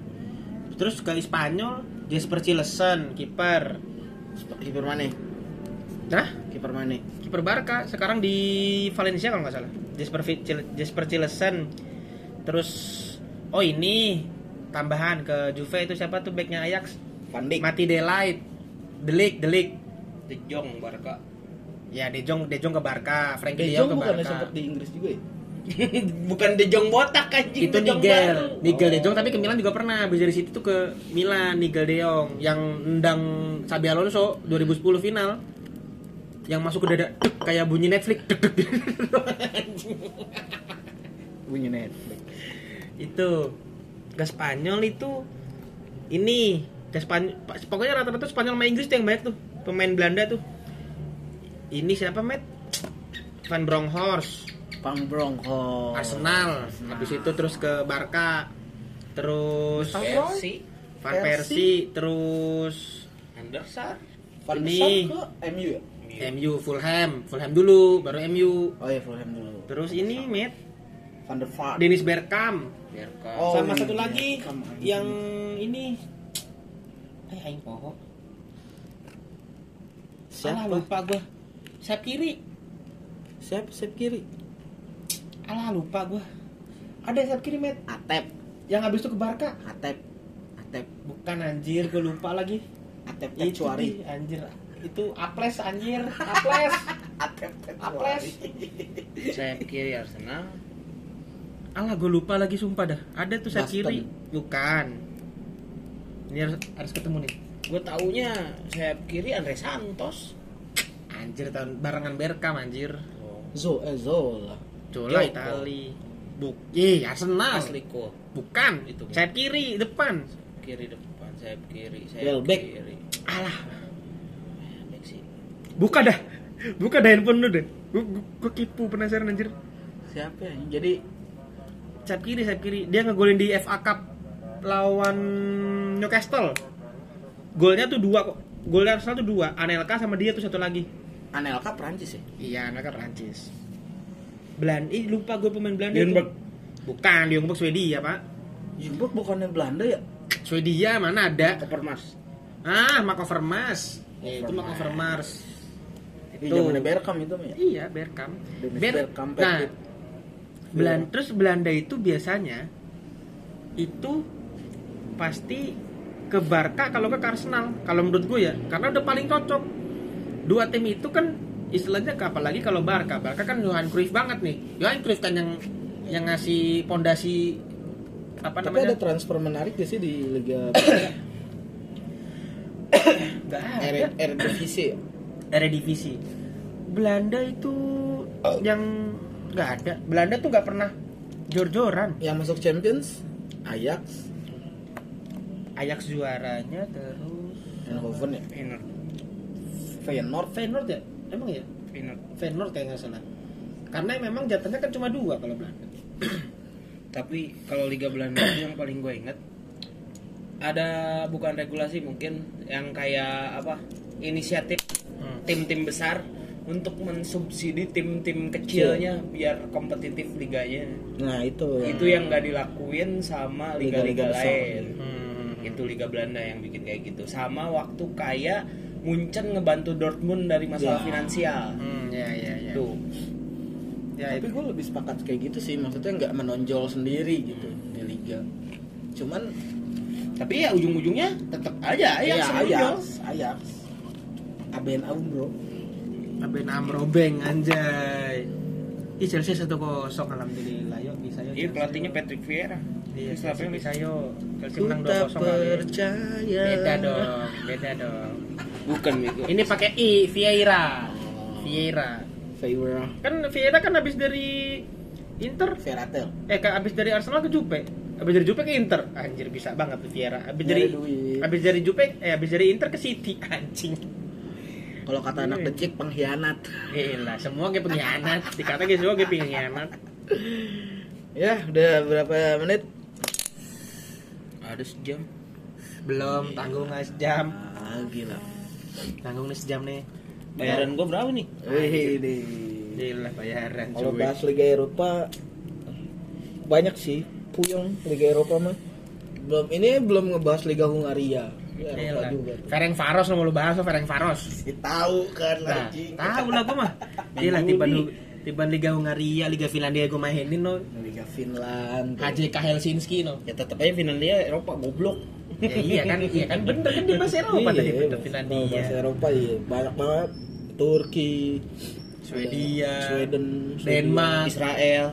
Speaker 1: Terus ke Spanyol, Jesper Cilesen, kiper.
Speaker 2: kiper mana
Speaker 1: Nah,
Speaker 2: kiper mana
Speaker 1: kiper Barca sekarang di Valencia kalau nggak salah Jesper Vi- Cil- Jesper Cilesen terus oh ini tambahan ke Juve itu siapa tuh backnya Ajax
Speaker 2: Van Dijk
Speaker 1: mati Delight Delik Delik
Speaker 4: De Jong Barca. <laughs>
Speaker 1: ya De Jong De Jong ke Barca Frankie De
Speaker 2: De Jong
Speaker 1: Jong ke
Speaker 2: bukannya
Speaker 1: Barca
Speaker 2: sempat di Inggris juga ya
Speaker 4: Bukan De Jong botak anjing.
Speaker 1: itu
Speaker 4: De Jong baru.
Speaker 1: Nigel Nigel De Jong tapi ke Milan juga pernah habis dari situ tuh ke Milan Nigel De Jong yang nendang Xabi Alonso 2010 final yang masuk ke dada <clears throat> tuk, kayak bunyi Netflix <clears throat> tuk, tuk, tuk.
Speaker 2: punya Netflix
Speaker 1: itu ke Spanyol itu ini ke Spanyol pokoknya rata-rata Spanyol sama Inggris tuh yang banyak tuh pemain Belanda tuh ini siapa Matt Van Bronckhorst
Speaker 2: Pang Nah. Bronco
Speaker 1: Arsenal habis itu terus ke Barca terus
Speaker 4: Persi.
Speaker 1: Van Persie terus
Speaker 4: Oh. Andersar.
Speaker 2: Van
Speaker 1: Ini.
Speaker 2: Dijk ke MU ya
Speaker 1: MU Fulham Fulham dulu baru MU
Speaker 2: oh iya Fulham dulu
Speaker 1: terus ini Matt
Speaker 2: Van der Vaart
Speaker 1: Dennis Bergkamp
Speaker 4: Berka.
Speaker 2: Oh,
Speaker 1: sama
Speaker 2: iya,
Speaker 1: satu
Speaker 2: iya.
Speaker 1: lagi
Speaker 2: Sama, iya.
Speaker 1: yang ini eh aing poho
Speaker 2: Siapa?
Speaker 1: Alah, lupa gua sayap kiri
Speaker 2: siap siap kiri
Speaker 1: alah lupa gua ada sayap kiri met
Speaker 2: Atep
Speaker 1: yang habis itu ke Barca
Speaker 2: Atep Atep
Speaker 1: bukan anjir gua lupa lagi
Speaker 2: Atep
Speaker 1: itu
Speaker 2: Tecuari
Speaker 1: ih, anjir itu aples anjir <laughs> aples
Speaker 2: Atep
Speaker 1: aples
Speaker 4: Sayap kiri Arsenal.
Speaker 1: alah gua lupa lagi sumpah dah ada tuh sayap
Speaker 2: Baston.
Speaker 1: kiri bukan ini harus harus ketemu nih
Speaker 4: Gue taunya sayap kiri Andre Santos.
Speaker 1: anjir tahun barengan Berkam anjir
Speaker 2: Zo eh Zola
Speaker 1: Jola
Speaker 4: Joko.
Speaker 1: Itali Buk, ih Arsenal
Speaker 4: Asli kok.
Speaker 1: Bukan, itu. Sayap kiri depan.
Speaker 4: Kiri depan, sayap kiri, sayap
Speaker 2: Welbeck.
Speaker 4: kiri.
Speaker 1: Alah,
Speaker 4: Back sih.
Speaker 1: buka dah. Buka dah handphone lu deh. Gua, gua, gua kipu penasaran anjir.
Speaker 2: siapa ya jadi
Speaker 1: Sayap kiri, sayap kiri. Dia ngegolin di FA Cup lawan Newcastle. Golnya tuh dua kok. Golnya Arsenal tuh dua. Anelka sama dia tuh satu lagi.
Speaker 2: Anelka Prancis ya
Speaker 1: Iya, Anelka Prancis. Belanda, ih lupa gue pemain Belanda
Speaker 4: Ljungberg.
Speaker 1: itu. Bukan, Ljungberg Swedia, Pak.
Speaker 2: Jumbo bukannya Belanda ya
Speaker 1: Swedia mana ada?
Speaker 2: Eh,
Speaker 4: Kopermas.
Speaker 1: Ah, Marco Vermaas. Ya, itu Marco Vermaas.
Speaker 2: di
Speaker 1: Tuh.
Speaker 2: zamannya Bergkamp Iya, itu ya
Speaker 1: Iya, Berkam.
Speaker 2: Dennis
Speaker 1: Ber-
Speaker 2: Bergkamp,
Speaker 1: Nah,
Speaker 2: Patrick.
Speaker 1: Belan
Speaker 2: Iya.
Speaker 1: terus Belanda itu biasanya itu pasti ke Barca kalau nggak ke Arsenal. Kalau menurut gue ya, karena udah paling cocok. Dua tim itu kan istilahnya ke- apalagi kalau Barca. Barca kan Johan Cruyff banget nih. Johan Cruyff kan yang yang ngasih pondasi apa
Speaker 2: Tapi
Speaker 1: namanya
Speaker 2: ada transfer menarik gak sih di <coughs> Liga Belanda?
Speaker 1: nggak
Speaker 2: R
Speaker 1: ada
Speaker 2: Eredivisie ya?
Speaker 1: Eredivisie Belanda itu yang nggak ada Belanda tuh nggak pernah jor-joran
Speaker 2: yang masuk Champions Ajax
Speaker 1: Ajax juaranya terus
Speaker 2: Eindhoven ya
Speaker 1: Feyenoord
Speaker 2: Feyenoord
Speaker 1: Feyenoord ya emang ya
Speaker 4: Feyenoord.
Speaker 1: Feyenoord kayak nggak salah karena memang jatahnya kan cuma dua kalau Belanda
Speaker 4: Tapi kalau Liga Belanda itu yang paling gue inget ada bukan regulasi mungkin yang kayak apa inisiatif
Speaker 1: Hmm.
Speaker 4: tim-tim besar untuk mensubsidi tim-tim kecilnya biar kompetitif liganya.
Speaker 2: nah itu
Speaker 4: Itu yang nggak dilakuin sama
Speaker 2: Liga-liga
Speaker 4: liga-liga
Speaker 2: besar.
Speaker 4: lain.
Speaker 1: Eh, gitu.
Speaker 4: Itu Liga Belanda yang bikin kayak gitu. Sama waktu kayak Munchen ngebantu Dortmund dari
Speaker 2: Ya.
Speaker 4: masalah finansial.
Speaker 1: Hmm, ya ya ya.
Speaker 4: Tuh.
Speaker 1: Ya, itu.
Speaker 2: tapi gue lebih sepakat kayak gitu sih maksudnya nggak menonjol sendiri gitu di Liga cuman
Speaker 4: Tapi ya ujung-ujungnya tetap aja Ajax yang menonjol.
Speaker 2: Iya, Ajax Ajax Aben Aum bro
Speaker 1: Aben Amrobeng anjay. Ih Chelsea satu kosong alhamdulillah yuk bisa yuk.
Speaker 4: Iya
Speaker 1: Chelsea,
Speaker 4: pelatihnya
Speaker 1: yuk.
Speaker 4: Patrick Vieira.
Speaker 1: Iya
Speaker 4: Terus apa
Speaker 1: Chelsea
Speaker 4: yang
Speaker 1: bisa
Speaker 4: bisa?
Speaker 1: yuk. Chelsea
Speaker 2: Ku
Speaker 1: menang dua
Speaker 2: tak
Speaker 1: kosong kali.
Speaker 2: percaya
Speaker 1: Beda dong, beda dong.
Speaker 4: Bukan itu.
Speaker 1: Ini pakai I Vieira. Vieira.
Speaker 2: Feyura
Speaker 1: Kan Vieira kan habis dari Inter
Speaker 2: Feratel
Speaker 1: eh kan habis dari Arsenal ke Juve. Habis dari Juve ke Inter. Anjir bisa banget tuh Vieira. Habis
Speaker 2: Nyari
Speaker 1: dari
Speaker 2: duit.
Speaker 1: habis dari Juve eh habis dari Inter ke City <laughs> anjing.
Speaker 2: kalau kata anak
Speaker 1: Iya.
Speaker 2: decik pengkhianat
Speaker 1: Gila, semua kayak pengkhianat. Dikata kayak semua kayak pengkhianat.
Speaker 2: ya udah berapa menit
Speaker 4: Ada sejam.
Speaker 1: Belum tanggung nggak sejam.
Speaker 2: ah gila
Speaker 1: Tanggung nih sejam nih.
Speaker 4: Bayaran gua berapa nih?
Speaker 2: Wih,
Speaker 1: Gila bayaran Iya,
Speaker 2: Kalau
Speaker 1: cuy.
Speaker 2: bahas Liga Eropa banyak sih puyeng Liga Eropa mah. Belum ini belum ngebahas Liga Hungaria. Ya, Eropa
Speaker 1: Gila.
Speaker 2: juga.
Speaker 1: Fereng Faros mau lu bahas Fereng Faros.
Speaker 2: Tahu kan
Speaker 1: Nah, tahu lah gua mah. Gila tiba tiba Liga Hungaria, Liga Finlandia gua mainin no.
Speaker 2: Liga Finland.
Speaker 1: HJK Helsinki no.
Speaker 4: Ya tetap aja Finlandia Eropa goblok.
Speaker 1: Ya, iya kan, iya kan bener kan dia bahasa Eropa tadi bener
Speaker 2: Kalau Iya, bahasa
Speaker 1: Finlandia,
Speaker 2: Eropa iya banyak banget. Turki,
Speaker 1: Swedia,
Speaker 2: Sweden,
Speaker 1: Denmark.
Speaker 4: Israel.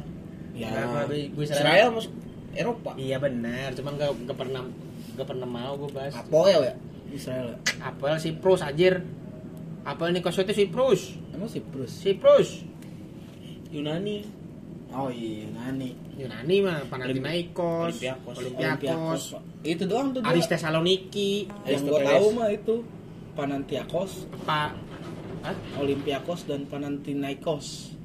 Speaker 2: Ya.
Speaker 1: Kenapa gue- gue Israel?
Speaker 4: Israel masuk Eropa.
Speaker 1: Iya benar, cuman gak, gak pernah gak pernah mau gua bahas.
Speaker 2: Apoel ya? Israel. ya?
Speaker 1: Apel Siprus anjir. Apel Nikos itu Siprus.
Speaker 2: Emang Siprus.
Speaker 1: Siprus.
Speaker 4: Yunani.
Speaker 2: Oh iya, Nani.
Speaker 1: Yunani mah Panathinaikos,
Speaker 4: Olympiakos.
Speaker 1: Olympiakos,
Speaker 2: Itu doang tuh. dua.
Speaker 1: Aris Thessaloniki,
Speaker 2: Yang gue tahu mah itu Panantiakos,
Speaker 1: Pak Hah?
Speaker 2: Olympiakos dan Panantinaikos.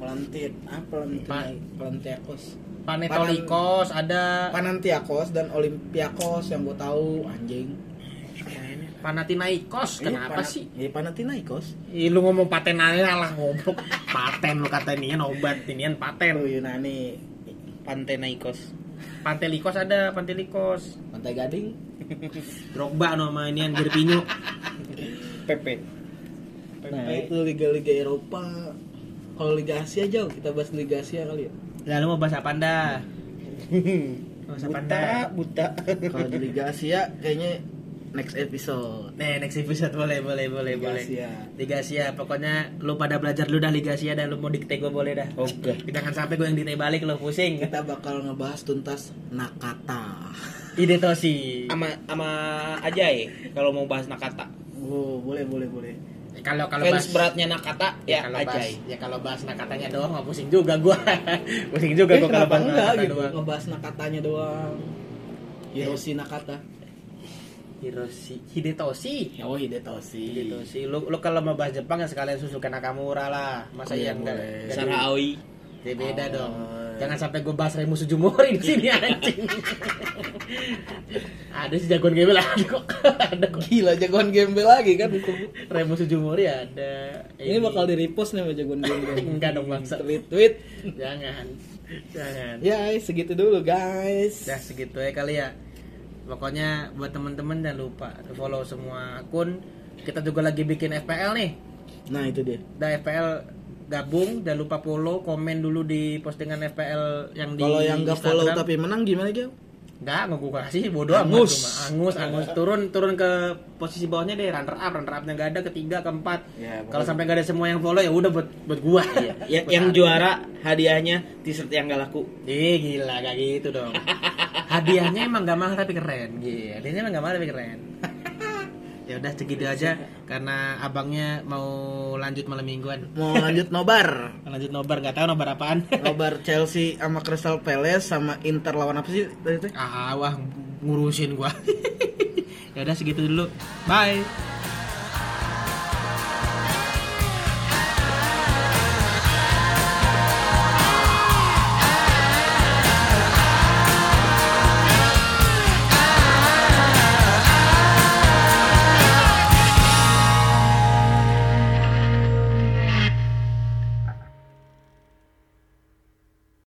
Speaker 2: Palantin, ah
Speaker 1: Pa-
Speaker 2: Palantin, Palantiakos.
Speaker 1: Panetolikos ada
Speaker 2: Panantiakos dan Olympiakos yang gue tahu anjing.
Speaker 1: Panathinaikos. Kenapa
Speaker 2: Iya, Pana-
Speaker 1: sih?
Speaker 2: Iya Panantinaikos.
Speaker 1: Ih, lu ngomong paten aja lah ngobrol. Paten lu kata ini obat, inian
Speaker 2: Oh
Speaker 1: paten.
Speaker 2: Yunani,
Speaker 4: Panathinaikos.
Speaker 1: Pantelikos ada, Pantelikos.
Speaker 2: Pantai Gading.
Speaker 1: Drogba nama inian Gerpinyo.
Speaker 4: PP.
Speaker 2: Nah itu liga-liga Eropa. Kalau Liga Asia jauh kita bahas Liga Asia kali ya.
Speaker 1: Lalu mau bahas apa Anda? Mau bahas apa Anda?
Speaker 4: Buta, buta.
Speaker 2: <laughs> Kalau di Liga Asia kayaknya next episode.
Speaker 1: Nih, next episode boleh, boleh, boleh,
Speaker 2: Liga
Speaker 1: boleh.
Speaker 2: Asia.
Speaker 1: Liga Asia, pokoknya lu pada belajar dulu dah Liga Asia dan lu mau dikte gue boleh dah.
Speaker 4: Oke.
Speaker 1: Jangan sampai gue yang dikte balik lu pusing.
Speaker 2: <laughs> Kita bakal ngebahas tuntas Nakata.
Speaker 1: Ide tosi.
Speaker 4: Ama ama Ajay kalau mau bahas Nakata.
Speaker 2: Oh, boleh boleh boleh.
Speaker 1: Kalau kalau
Speaker 4: Fans
Speaker 1: bahas
Speaker 4: beratnya Nakata ya,
Speaker 1: kalau bahas,
Speaker 4: Ajay.
Speaker 1: ya kalau bahas nah katanya doang nggak pusing juga gua. <laughs> pusing juga
Speaker 2: Eh,
Speaker 1: gua kalau
Speaker 2: kenapa
Speaker 1: bahas
Speaker 2: enggak
Speaker 1: Nakata
Speaker 2: gitu
Speaker 1: doang.
Speaker 2: ngebahas Nakatanya doang. Hiroshi Nakata.
Speaker 1: Hiroshi Hidetoshi.
Speaker 2: Oh, Hidetoshi.
Speaker 1: Gitu sih. Lu lu kalau mau bahas Jepang ya sekalian susul ke Nakamura lah. Masa
Speaker 2: Iya,
Speaker 1: yang enggak.
Speaker 2: boleh.
Speaker 1: enggak
Speaker 4: Sarah Aoi.
Speaker 1: Ya beda
Speaker 2: Oh. Iya.
Speaker 1: dong. Jangan sampai gue bahas Remu Sujumori di sini anjing. <laughs> ada sih jagoan gembel ada kok. <laughs> ada kok.
Speaker 2: Gila jagoan gembel lagi kan itu.
Speaker 1: Remu Sujumori ada.
Speaker 2: Ini bakal di repost nih sama jagoan gembel.
Speaker 1: <laughs> enggak dong bangsa.
Speaker 2: Tweet tweet.
Speaker 1: Jangan. Jangan.
Speaker 2: Ya, segitu dulu guys.
Speaker 1: Udah segitu ya kali ya. Pokoknya buat temen-temen jangan lupa follow semua akun. Kita juga lagi bikin FPL nih.
Speaker 2: Nah, itu dia.
Speaker 1: Udah FPL gabung, jangan lupa follow, komen dulu di postingan FPL yang di
Speaker 2: Kalau yang nggak follow
Speaker 1: Instagram.
Speaker 2: tapi menang gimana, Gil?
Speaker 1: Enggak, nggak gua kasih bodoh amat
Speaker 3: Angus.
Speaker 1: cuma. Angus, Angus turun turun ke posisi bawahnya deh runner up, runner upnya nggak ada ketiga, keempat.
Speaker 4: Ya, pokoknya-
Speaker 1: Kalau sampai nggak ada semua yang follow ya udah buat buat gua.
Speaker 4: Ya,
Speaker 1: <laughs> Buat
Speaker 4: yang
Speaker 1: Ari.
Speaker 4: juara hadiahnya t-shirt yang gak laku.
Speaker 1: Ih gila kayak gitu dong. Hadiahnya emang gak mahal tapi keren. Iya, hadiahnya emang gak mahal tapi keren. <laughs> ya udah segitu aja karena abangnya mau lanjut malam mingguan.
Speaker 2: Mau lanjut
Speaker 1: <laughs>
Speaker 2: nobar.
Speaker 1: Lanjut nobar nggak tahu nobar apaan.
Speaker 2: Nobar Chelsea sama Crystal Palace sama Inter lawan apa sih tadi? teh?
Speaker 1: <laughs> ah, wah ngurusin gua. ya udah segitu dulu. Bye.